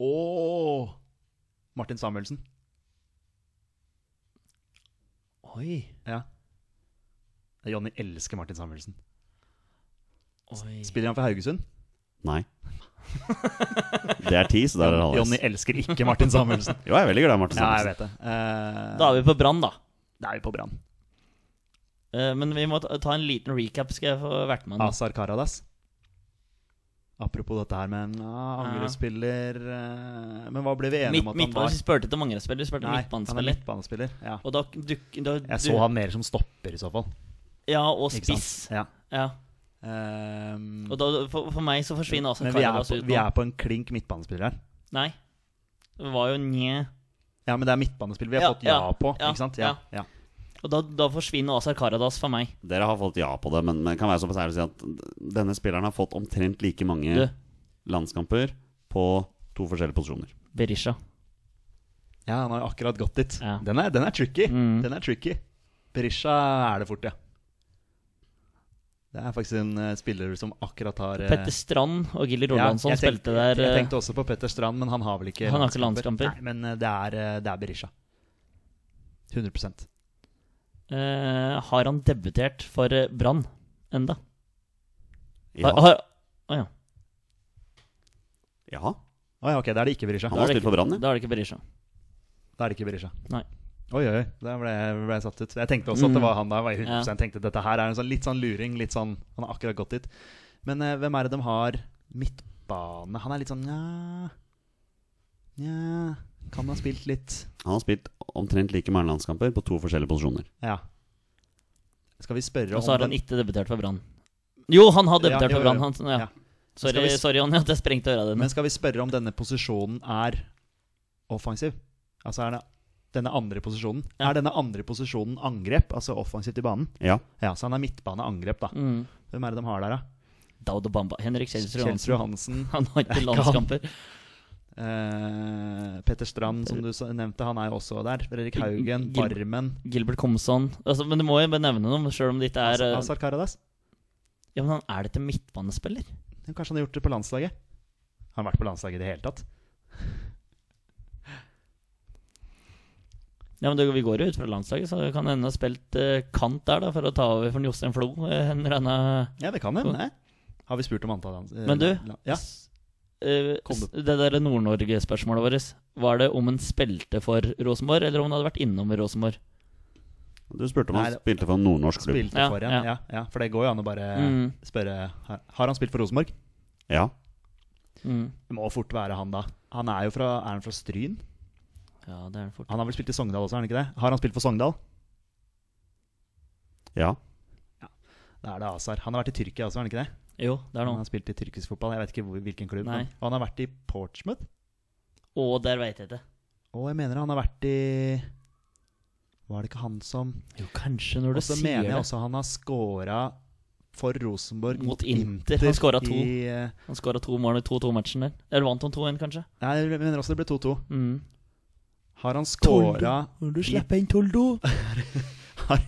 [SPEAKER 2] og Martin Samuelsen.
[SPEAKER 3] Oi.
[SPEAKER 2] Ja. Jonny elsker Martin Samuelsen.
[SPEAKER 3] Oi.
[SPEAKER 2] Spiller han for Haugesund?
[SPEAKER 1] Nei. Det er ti, så der er det
[SPEAKER 2] Jonny
[SPEAKER 1] halvveis.
[SPEAKER 2] elsker ikke Martin Samuelsen.
[SPEAKER 1] Jo, jeg er veldig glad i Martin
[SPEAKER 2] ja, jeg
[SPEAKER 1] Samuelsen.
[SPEAKER 2] vet det. Eh,
[SPEAKER 3] Da er vi på Brann, da.
[SPEAKER 2] da er vi på Brann.
[SPEAKER 3] Eh, Men vi må ta ta en liten recap, skal jeg få vært med nå.
[SPEAKER 2] Azar Karadas. Apropos dette her med en ah, angrepsspiller eh, Men hva ble vi enige om at han
[SPEAKER 3] Midt,
[SPEAKER 2] var?
[SPEAKER 3] midtbanen, Du spurte ikke om angrepsspiller, du spurte om
[SPEAKER 2] Nei, han er
[SPEAKER 3] midtbanespiller.
[SPEAKER 2] midtbanespiller. Ja.
[SPEAKER 3] Og da duk, da,
[SPEAKER 2] Jeg
[SPEAKER 3] du-
[SPEAKER 2] så han mer som stopper, i så fall.
[SPEAKER 3] Ja, og
[SPEAKER 2] Ikke sant?
[SPEAKER 3] spiss.
[SPEAKER 2] Ja.
[SPEAKER 3] Ja.
[SPEAKER 2] Ehm,
[SPEAKER 3] Og da, for, for meg så forsvinner Asan
[SPEAKER 2] men vi er,
[SPEAKER 3] Karadas
[SPEAKER 2] på,
[SPEAKER 3] ut
[SPEAKER 2] vi
[SPEAKER 3] nå.
[SPEAKER 2] er på en klink midtbanespiller her.
[SPEAKER 3] Nei. Det var jo nje.
[SPEAKER 2] Ja, men det er midtbanespiller vi har
[SPEAKER 3] Ja,
[SPEAKER 2] fått ja,
[SPEAKER 3] ja,
[SPEAKER 2] på.
[SPEAKER 3] ja,
[SPEAKER 2] ikke sant? Ja, ja.
[SPEAKER 3] Og da, da forsvinner Azar Karadas for meg.
[SPEAKER 1] Dere har fått ja på det, men, men kan være såpass ærlig å si at denne spilleren har fått omtrent like mange
[SPEAKER 3] Du,
[SPEAKER 1] landskamper på to forskjellige posisjoner.
[SPEAKER 3] Berisha.
[SPEAKER 2] ja, han har jo akkurat gått dit.
[SPEAKER 3] Ja.
[SPEAKER 2] Den, er, den er tricky.
[SPEAKER 3] Mm.
[SPEAKER 2] Den er tricky. Berisha er det fort, ja. Det er faktisk en eh, spiller som akkurat har eh,
[SPEAKER 3] Petter Strand og Gilly
[SPEAKER 2] Ja,
[SPEAKER 3] Rolandsson
[SPEAKER 2] jeg tenkte-
[SPEAKER 3] spilte der.
[SPEAKER 2] Jeg
[SPEAKER 3] eh,
[SPEAKER 2] tenkte også på Petter Strand, men han har vel ikke
[SPEAKER 3] Han har ikke landskamper.
[SPEAKER 2] Nei, men eh, det er, eh, det er Berisha. 100
[SPEAKER 3] eh, har han debutert for eh, Brann enda?
[SPEAKER 1] Ja,
[SPEAKER 3] Har, har, å ja.
[SPEAKER 1] ja.
[SPEAKER 2] Å ja, ok, da er det ikke Berisha.
[SPEAKER 1] Han
[SPEAKER 3] Da er
[SPEAKER 1] har
[SPEAKER 3] det
[SPEAKER 1] spilt for Brann, ja.
[SPEAKER 3] Da er det ikke Berisha.
[SPEAKER 2] Da er det ikke Berisha.
[SPEAKER 3] Nei. Mm.
[SPEAKER 2] Oi, oi, oi. Der ble, jeg- ble jeg satt ut. Jeg tenkte også at det var han der. Var jeg 100 tenkte Dette her er en sånn, litt sånn luring. Litt sånn, han har akkurat gått dit. Men eh, hvem er det de har midtbane Han er litt sånn nja Nja Kan ha spilt litt
[SPEAKER 1] Han har spilt omtrent like mange landskamper på to forskjellige posisjoner.
[SPEAKER 2] Ja. Skal vi spørre
[SPEAKER 3] Og så har
[SPEAKER 2] om
[SPEAKER 3] han
[SPEAKER 2] den-
[SPEAKER 3] ikke debutert for Brann. Jo, han har
[SPEAKER 2] Ja,
[SPEAKER 3] debutert
[SPEAKER 2] jo,
[SPEAKER 3] for Brann.
[SPEAKER 2] jo.
[SPEAKER 3] han- Ja.
[SPEAKER 2] Ja. Skal
[SPEAKER 3] Sorry,
[SPEAKER 2] vi s-
[SPEAKER 3] sorry, Jonny, at jeg sprengte øra dine.
[SPEAKER 2] Men skal vi spørre om denne posisjonen er offensiv? Altså er det denne andre posisjonen?
[SPEAKER 3] Ja.
[SPEAKER 2] Er denne andre posisjonen angrep, altså offensivt i banen?
[SPEAKER 1] Ja.
[SPEAKER 2] Ja, så han er midtbaneangrep, da.
[SPEAKER 3] Mm.
[SPEAKER 2] Hvem er det de har der, da?
[SPEAKER 3] Daud og Bamba. Henrik Kjelsrud
[SPEAKER 2] Kjelsrud
[SPEAKER 3] Johansen.
[SPEAKER 2] Johansen.
[SPEAKER 3] Han har ikke
[SPEAKER 2] han.
[SPEAKER 3] landskamper.
[SPEAKER 2] Eh, Petter Strand, som du så- nevnte, han er jo også der. Fredrik Haugen.
[SPEAKER 3] Gil-
[SPEAKER 2] Barmen.
[SPEAKER 3] Gilbert Komson. Altså, men du
[SPEAKER 2] Altså,
[SPEAKER 3] må jo bare nevne noe, sjøl om det ikke er eh,
[SPEAKER 2] Azar Karadas.
[SPEAKER 3] Ja, men han er det til midtbanespiller?
[SPEAKER 2] Men Kanskje han har gjort det på landslaget? Har han vært på landslaget i det hele tatt?
[SPEAKER 3] Ja, men det, Vi går jo ut fra landslaget, så det kan hende ha spilt eh, kant der da, for å ta over for Jostein Flo. eh, en eller annen-
[SPEAKER 2] Ja, det kan hende. Har vi spurt om antall lands...
[SPEAKER 3] Men du?
[SPEAKER 2] la- Ja.
[SPEAKER 3] S- eh,
[SPEAKER 2] Kom
[SPEAKER 3] s- det der Nord-Norge-spørsmålet vårt, var det om en spilte for Rosenborg, eller om han hadde vært innom Rosenborg?
[SPEAKER 1] Du spurte om han
[SPEAKER 2] Nei, det-
[SPEAKER 1] spilte for en nordnorsk klubb.
[SPEAKER 2] Spilte
[SPEAKER 3] Ja,
[SPEAKER 2] for en,
[SPEAKER 3] ja.
[SPEAKER 2] ja. Ja, For det går jo an å bare
[SPEAKER 3] Mm.
[SPEAKER 2] spørre Har har han spilt for Rosenborg?
[SPEAKER 1] Ja.
[SPEAKER 3] Mm.
[SPEAKER 2] Det må fort være han, da. Han er jo fra Er han fra Stryn?
[SPEAKER 3] Ja, det er han fort.
[SPEAKER 2] Han har vel spilt i Sogndal også, er han ikke det? Har han spilt for Sogndal?
[SPEAKER 1] Ja.
[SPEAKER 2] Da er det Azar. Han har vært i Tyrkia også, er han ikke det?
[SPEAKER 3] Jo, det er
[SPEAKER 2] Han
[SPEAKER 3] noe.
[SPEAKER 2] har spilt i tyrkisk fotball. Jeg vet ikke hvor, hvilken klubb.
[SPEAKER 3] Nei.
[SPEAKER 2] men- Og han har vært i Portsmouth.
[SPEAKER 3] Og der veit jeg det.
[SPEAKER 2] Og jeg mener han har vært i Var det ikke han som
[SPEAKER 3] Jo, kanskje når
[SPEAKER 2] Og
[SPEAKER 3] du
[SPEAKER 2] så
[SPEAKER 3] sier
[SPEAKER 2] mener jeg
[SPEAKER 3] det.
[SPEAKER 2] også han har scora for Rosenborg
[SPEAKER 3] Mot Inter. Han scora to.
[SPEAKER 2] i, eh,
[SPEAKER 3] Han skåra to mål i 2-2-matchen der. Eller vant han 2-1, kanskje?
[SPEAKER 2] Nei, jeg mener også det ble 2-2.
[SPEAKER 3] Mm.
[SPEAKER 2] Har han scora
[SPEAKER 5] Når du slipper inn Toldo
[SPEAKER 2] har,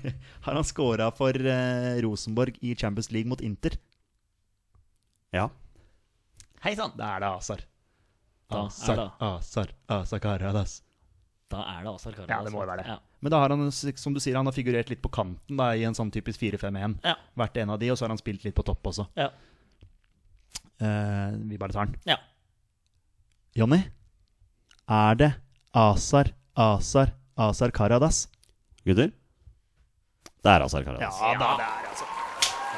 [SPEAKER 2] har han scora for eh, Rosenborg i Champions League mot Inter?
[SPEAKER 1] Ja.
[SPEAKER 3] Hei sann!
[SPEAKER 2] Da er det Azar.
[SPEAKER 3] Da er
[SPEAKER 2] Azar,
[SPEAKER 3] det.
[SPEAKER 2] Azar, Azar Karadas.
[SPEAKER 3] Da er det Asar Karas.
[SPEAKER 2] Ja, det må jo være det.
[SPEAKER 3] Ja.
[SPEAKER 2] Men da har han, som du sier, han har figurert litt på kanten da, i en sånn typisk 4-5-1.
[SPEAKER 3] Ja.
[SPEAKER 2] Vært en av de, og så har han spilt litt på topp også.
[SPEAKER 3] Ja.
[SPEAKER 2] Eh, vi bare tar den.
[SPEAKER 3] Ja.
[SPEAKER 2] Jonny, er det Azar, Azar, Azar Karadas?
[SPEAKER 1] Gutter? Det er Azar Karadas.
[SPEAKER 2] da, det er altså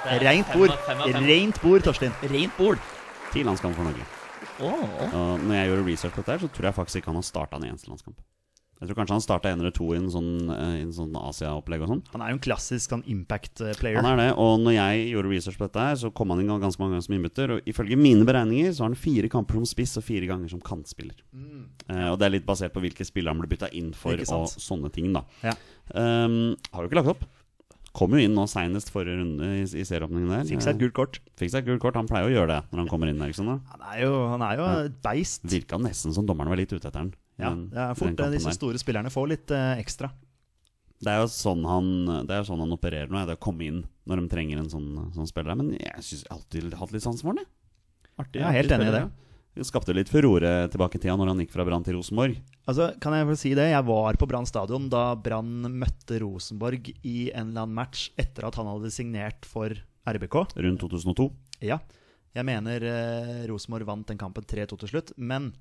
[SPEAKER 3] Det er
[SPEAKER 2] Rent
[SPEAKER 3] fem
[SPEAKER 2] bord.
[SPEAKER 3] av fem av fem.
[SPEAKER 2] Rent bord, Torstein.
[SPEAKER 3] Rent bord.
[SPEAKER 1] Ti landskamper for Norge.
[SPEAKER 3] Åh.
[SPEAKER 1] Og når jeg gjorde research på dette, her, så tror jeg faktisk ikke han har starta en eneste landskamp. Jeg tror kanskje han starta en eller to i en sånn, eh, i en sånn Asia-opplegg og sånn.
[SPEAKER 2] Han er jo en klassisk sånn impact eh, player.
[SPEAKER 1] Han er det, og når jeg gjorde research på dette, her, så kom han inn ganske mange ganger som innbytter. Og ifølge mine beregninger så har han fire kamper som spiss og fire ganger som kantspiller.
[SPEAKER 2] Mm.
[SPEAKER 1] Eh, og det er litt basert på hvilke spillere han ble bytta inn for
[SPEAKER 2] Ikke sant.
[SPEAKER 1] og sånne ting, da.
[SPEAKER 2] Ja.
[SPEAKER 1] Ehm, har jo ikke lagt opp. Kom jo inn nå seinest forrige runde i, i serieåpningen der.
[SPEAKER 2] Fikk seg et
[SPEAKER 1] Eh,
[SPEAKER 2] gult kort.
[SPEAKER 1] fikk seg et gult kort. Han pleier å gjøre det når han kommer inn, Eriksen. da
[SPEAKER 2] Han er jo, han er jo et beist.
[SPEAKER 1] Virka nesten som dommeren var litt ute etter den.
[SPEAKER 2] Ja,
[SPEAKER 1] den-
[SPEAKER 2] det er
[SPEAKER 1] den
[SPEAKER 2] fort eh,
[SPEAKER 1] kampen
[SPEAKER 2] disse
[SPEAKER 1] der.
[SPEAKER 2] store spillerne får litt eh, ekstra.
[SPEAKER 1] Det er jo sånn han, det er jo sånn han opererer nå. er Det å komme inn når de trenger en sånn, sånn spiller. Men jeg syns alltid hatt litt sansen for han, jeg. Artig,
[SPEAKER 2] Jeg er helt
[SPEAKER 1] artig
[SPEAKER 2] enig i
[SPEAKER 1] spiller,
[SPEAKER 2] det.
[SPEAKER 1] ja. Det skapte litt furore tilbake i tida når han gikk fra Brann til Rosenborg.
[SPEAKER 2] Altså, kan jeg få si det? Jeg var på Brann stadion da Brann møtte Rosenborg i en eller annen match etter at han hadde signert for RBK.
[SPEAKER 1] Rundt 2002.
[SPEAKER 2] Ja. Jeg mener eh, Rosenborg vant den kampen 3-2 til slutt, men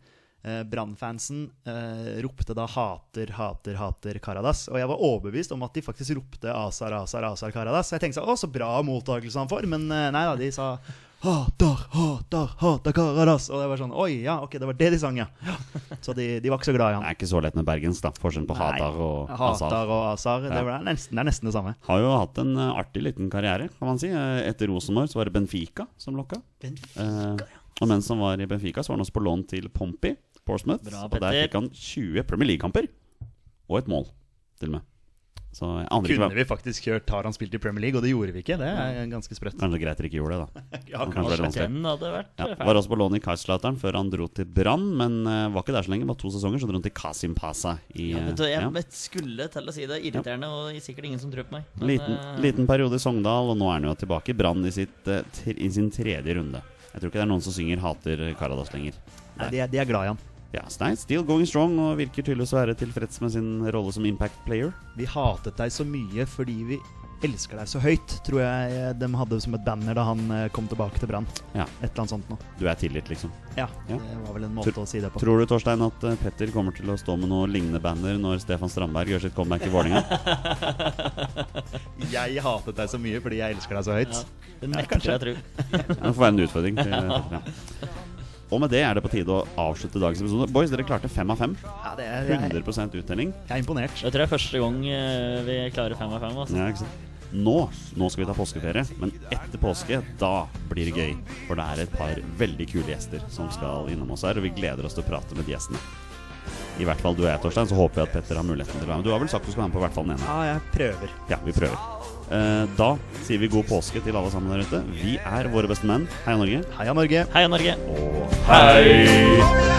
[SPEAKER 2] eh, Brann-fansen eh, ropte da 'hater, hater, hater Karadas'. Og jeg var overbevist om at de faktisk ropte 'Azar, Azar, Azar Karadas'. Jeg tenkte sånn, å, så bra mottakelse han får, men eh, nei da, de sa 'hater, hater, hater Karadas'. Og det var sånn, oi, ja, ok, det var det de sang, ja. Ja. Så de, de var ikke så glad i
[SPEAKER 1] Det
[SPEAKER 2] han.
[SPEAKER 1] er ikke så lett med Bergens, da. Forskjellen på
[SPEAKER 2] Nei.
[SPEAKER 1] Hatar og Azar.
[SPEAKER 2] Hatar og Azar, det,
[SPEAKER 1] Ja.
[SPEAKER 2] var nesten, det er nesten det samme.
[SPEAKER 1] Har jo hatt en eh, artig liten karriere, kan man si. Eh, Etter Rosenborg så var det Benfica som lokka. Eh, og mens han var i Benfica, så var han også på lån til Pompey, Portsmouth.
[SPEAKER 3] Bra,
[SPEAKER 1] og der
[SPEAKER 3] Petter.
[SPEAKER 1] fikk han 20 Premier League-kamper. Og et mål, til og med. Så jeg aner ikke
[SPEAKER 2] Kunne
[SPEAKER 1] hva
[SPEAKER 2] vi faktisk kjørt 'Har han spilt i Premier League?' Og det gjorde vi ikke. Det er ganske sprøtt.
[SPEAKER 1] Kanskje greit dere ikke gjorde det, da.
[SPEAKER 2] Ja,
[SPEAKER 1] kanskje det er vanskelig.
[SPEAKER 3] Den hadde vært
[SPEAKER 1] Ja,
[SPEAKER 3] eh,
[SPEAKER 1] var
[SPEAKER 3] feil.
[SPEAKER 1] også på lån i Kaiserslautern før han dro til Brann, men eh, var ikke der så lenge. Var to sesonger, så dro han til Kasim Pasa i
[SPEAKER 3] Ja,
[SPEAKER 1] eh,
[SPEAKER 3] vet du, jeg
[SPEAKER 1] ja.
[SPEAKER 3] vet- skulle til å si det. Irriterende, og sikkert ingen som tror på meg. Men,
[SPEAKER 1] Liten,
[SPEAKER 3] eh,
[SPEAKER 1] liten periode i Sogndal, og nå er han jo tilbake i Brann i, sitt, eh, tre- i sin tredje runde. Jeg tror ikke det er noen som synger 'Hater Karadas' lenger.
[SPEAKER 2] Nei, de, er, de er glad i han.
[SPEAKER 1] Ja, så nei, still going strong, og virker tydeligvis å være tilfreds med sin rolle som impact player.
[SPEAKER 2] Vi hatet deg så mye fordi vi elsker deg så høyt, tror jeg eh, de hadde som et banner da han eh, kom tilbake til Brann.
[SPEAKER 1] Ja.
[SPEAKER 2] Et eller annet sånt noe.
[SPEAKER 1] Du er tillit, liksom.
[SPEAKER 2] Ja,
[SPEAKER 1] Ja.
[SPEAKER 2] det var vel en måte å si det på.
[SPEAKER 1] Tror du, Torstein, at eh, Petter kommer til å stå med noe lignende banner når Stefan Strandberg gjør sitt comeback i Vålerenga?
[SPEAKER 2] Jeg hatet deg så mye fordi jeg elsker deg så høyt.
[SPEAKER 3] Det nekter jeg å tro.
[SPEAKER 1] Det får være en utfordring. Til, eh, Petter, ja. Og med det er det på tide å avslutte dagens episode. Boys, dere klarte fem av fem.
[SPEAKER 2] Ja, det er, jeg,
[SPEAKER 1] 100 uttelling.
[SPEAKER 2] jeg er imponert.
[SPEAKER 3] Det tror jeg er første gang eh, vi klarer fem av fem. Altså.
[SPEAKER 1] Ja, ikke sant? Nå, nå skal vi ta påskeferie, men etter påske, da blir det gøy. For det er et par veldig kule gjester som skal innom oss her, og vi gleder oss til å prate med de gjestene. I hvert fall du og jeg, Torstein, så håper vi at Petter har muligheten til å være med. Du har vel sagt du skal være med på hvert fall den ene?
[SPEAKER 2] Ja, jeg prøver.
[SPEAKER 1] Ja, vi prøver. Eh, Da sier vi god påske til alle sammen der ute. Vi er våre beste menn. Heia Norge.
[SPEAKER 2] Heia Norge.
[SPEAKER 3] Heia Norge!
[SPEAKER 1] Og
[SPEAKER 3] Hei!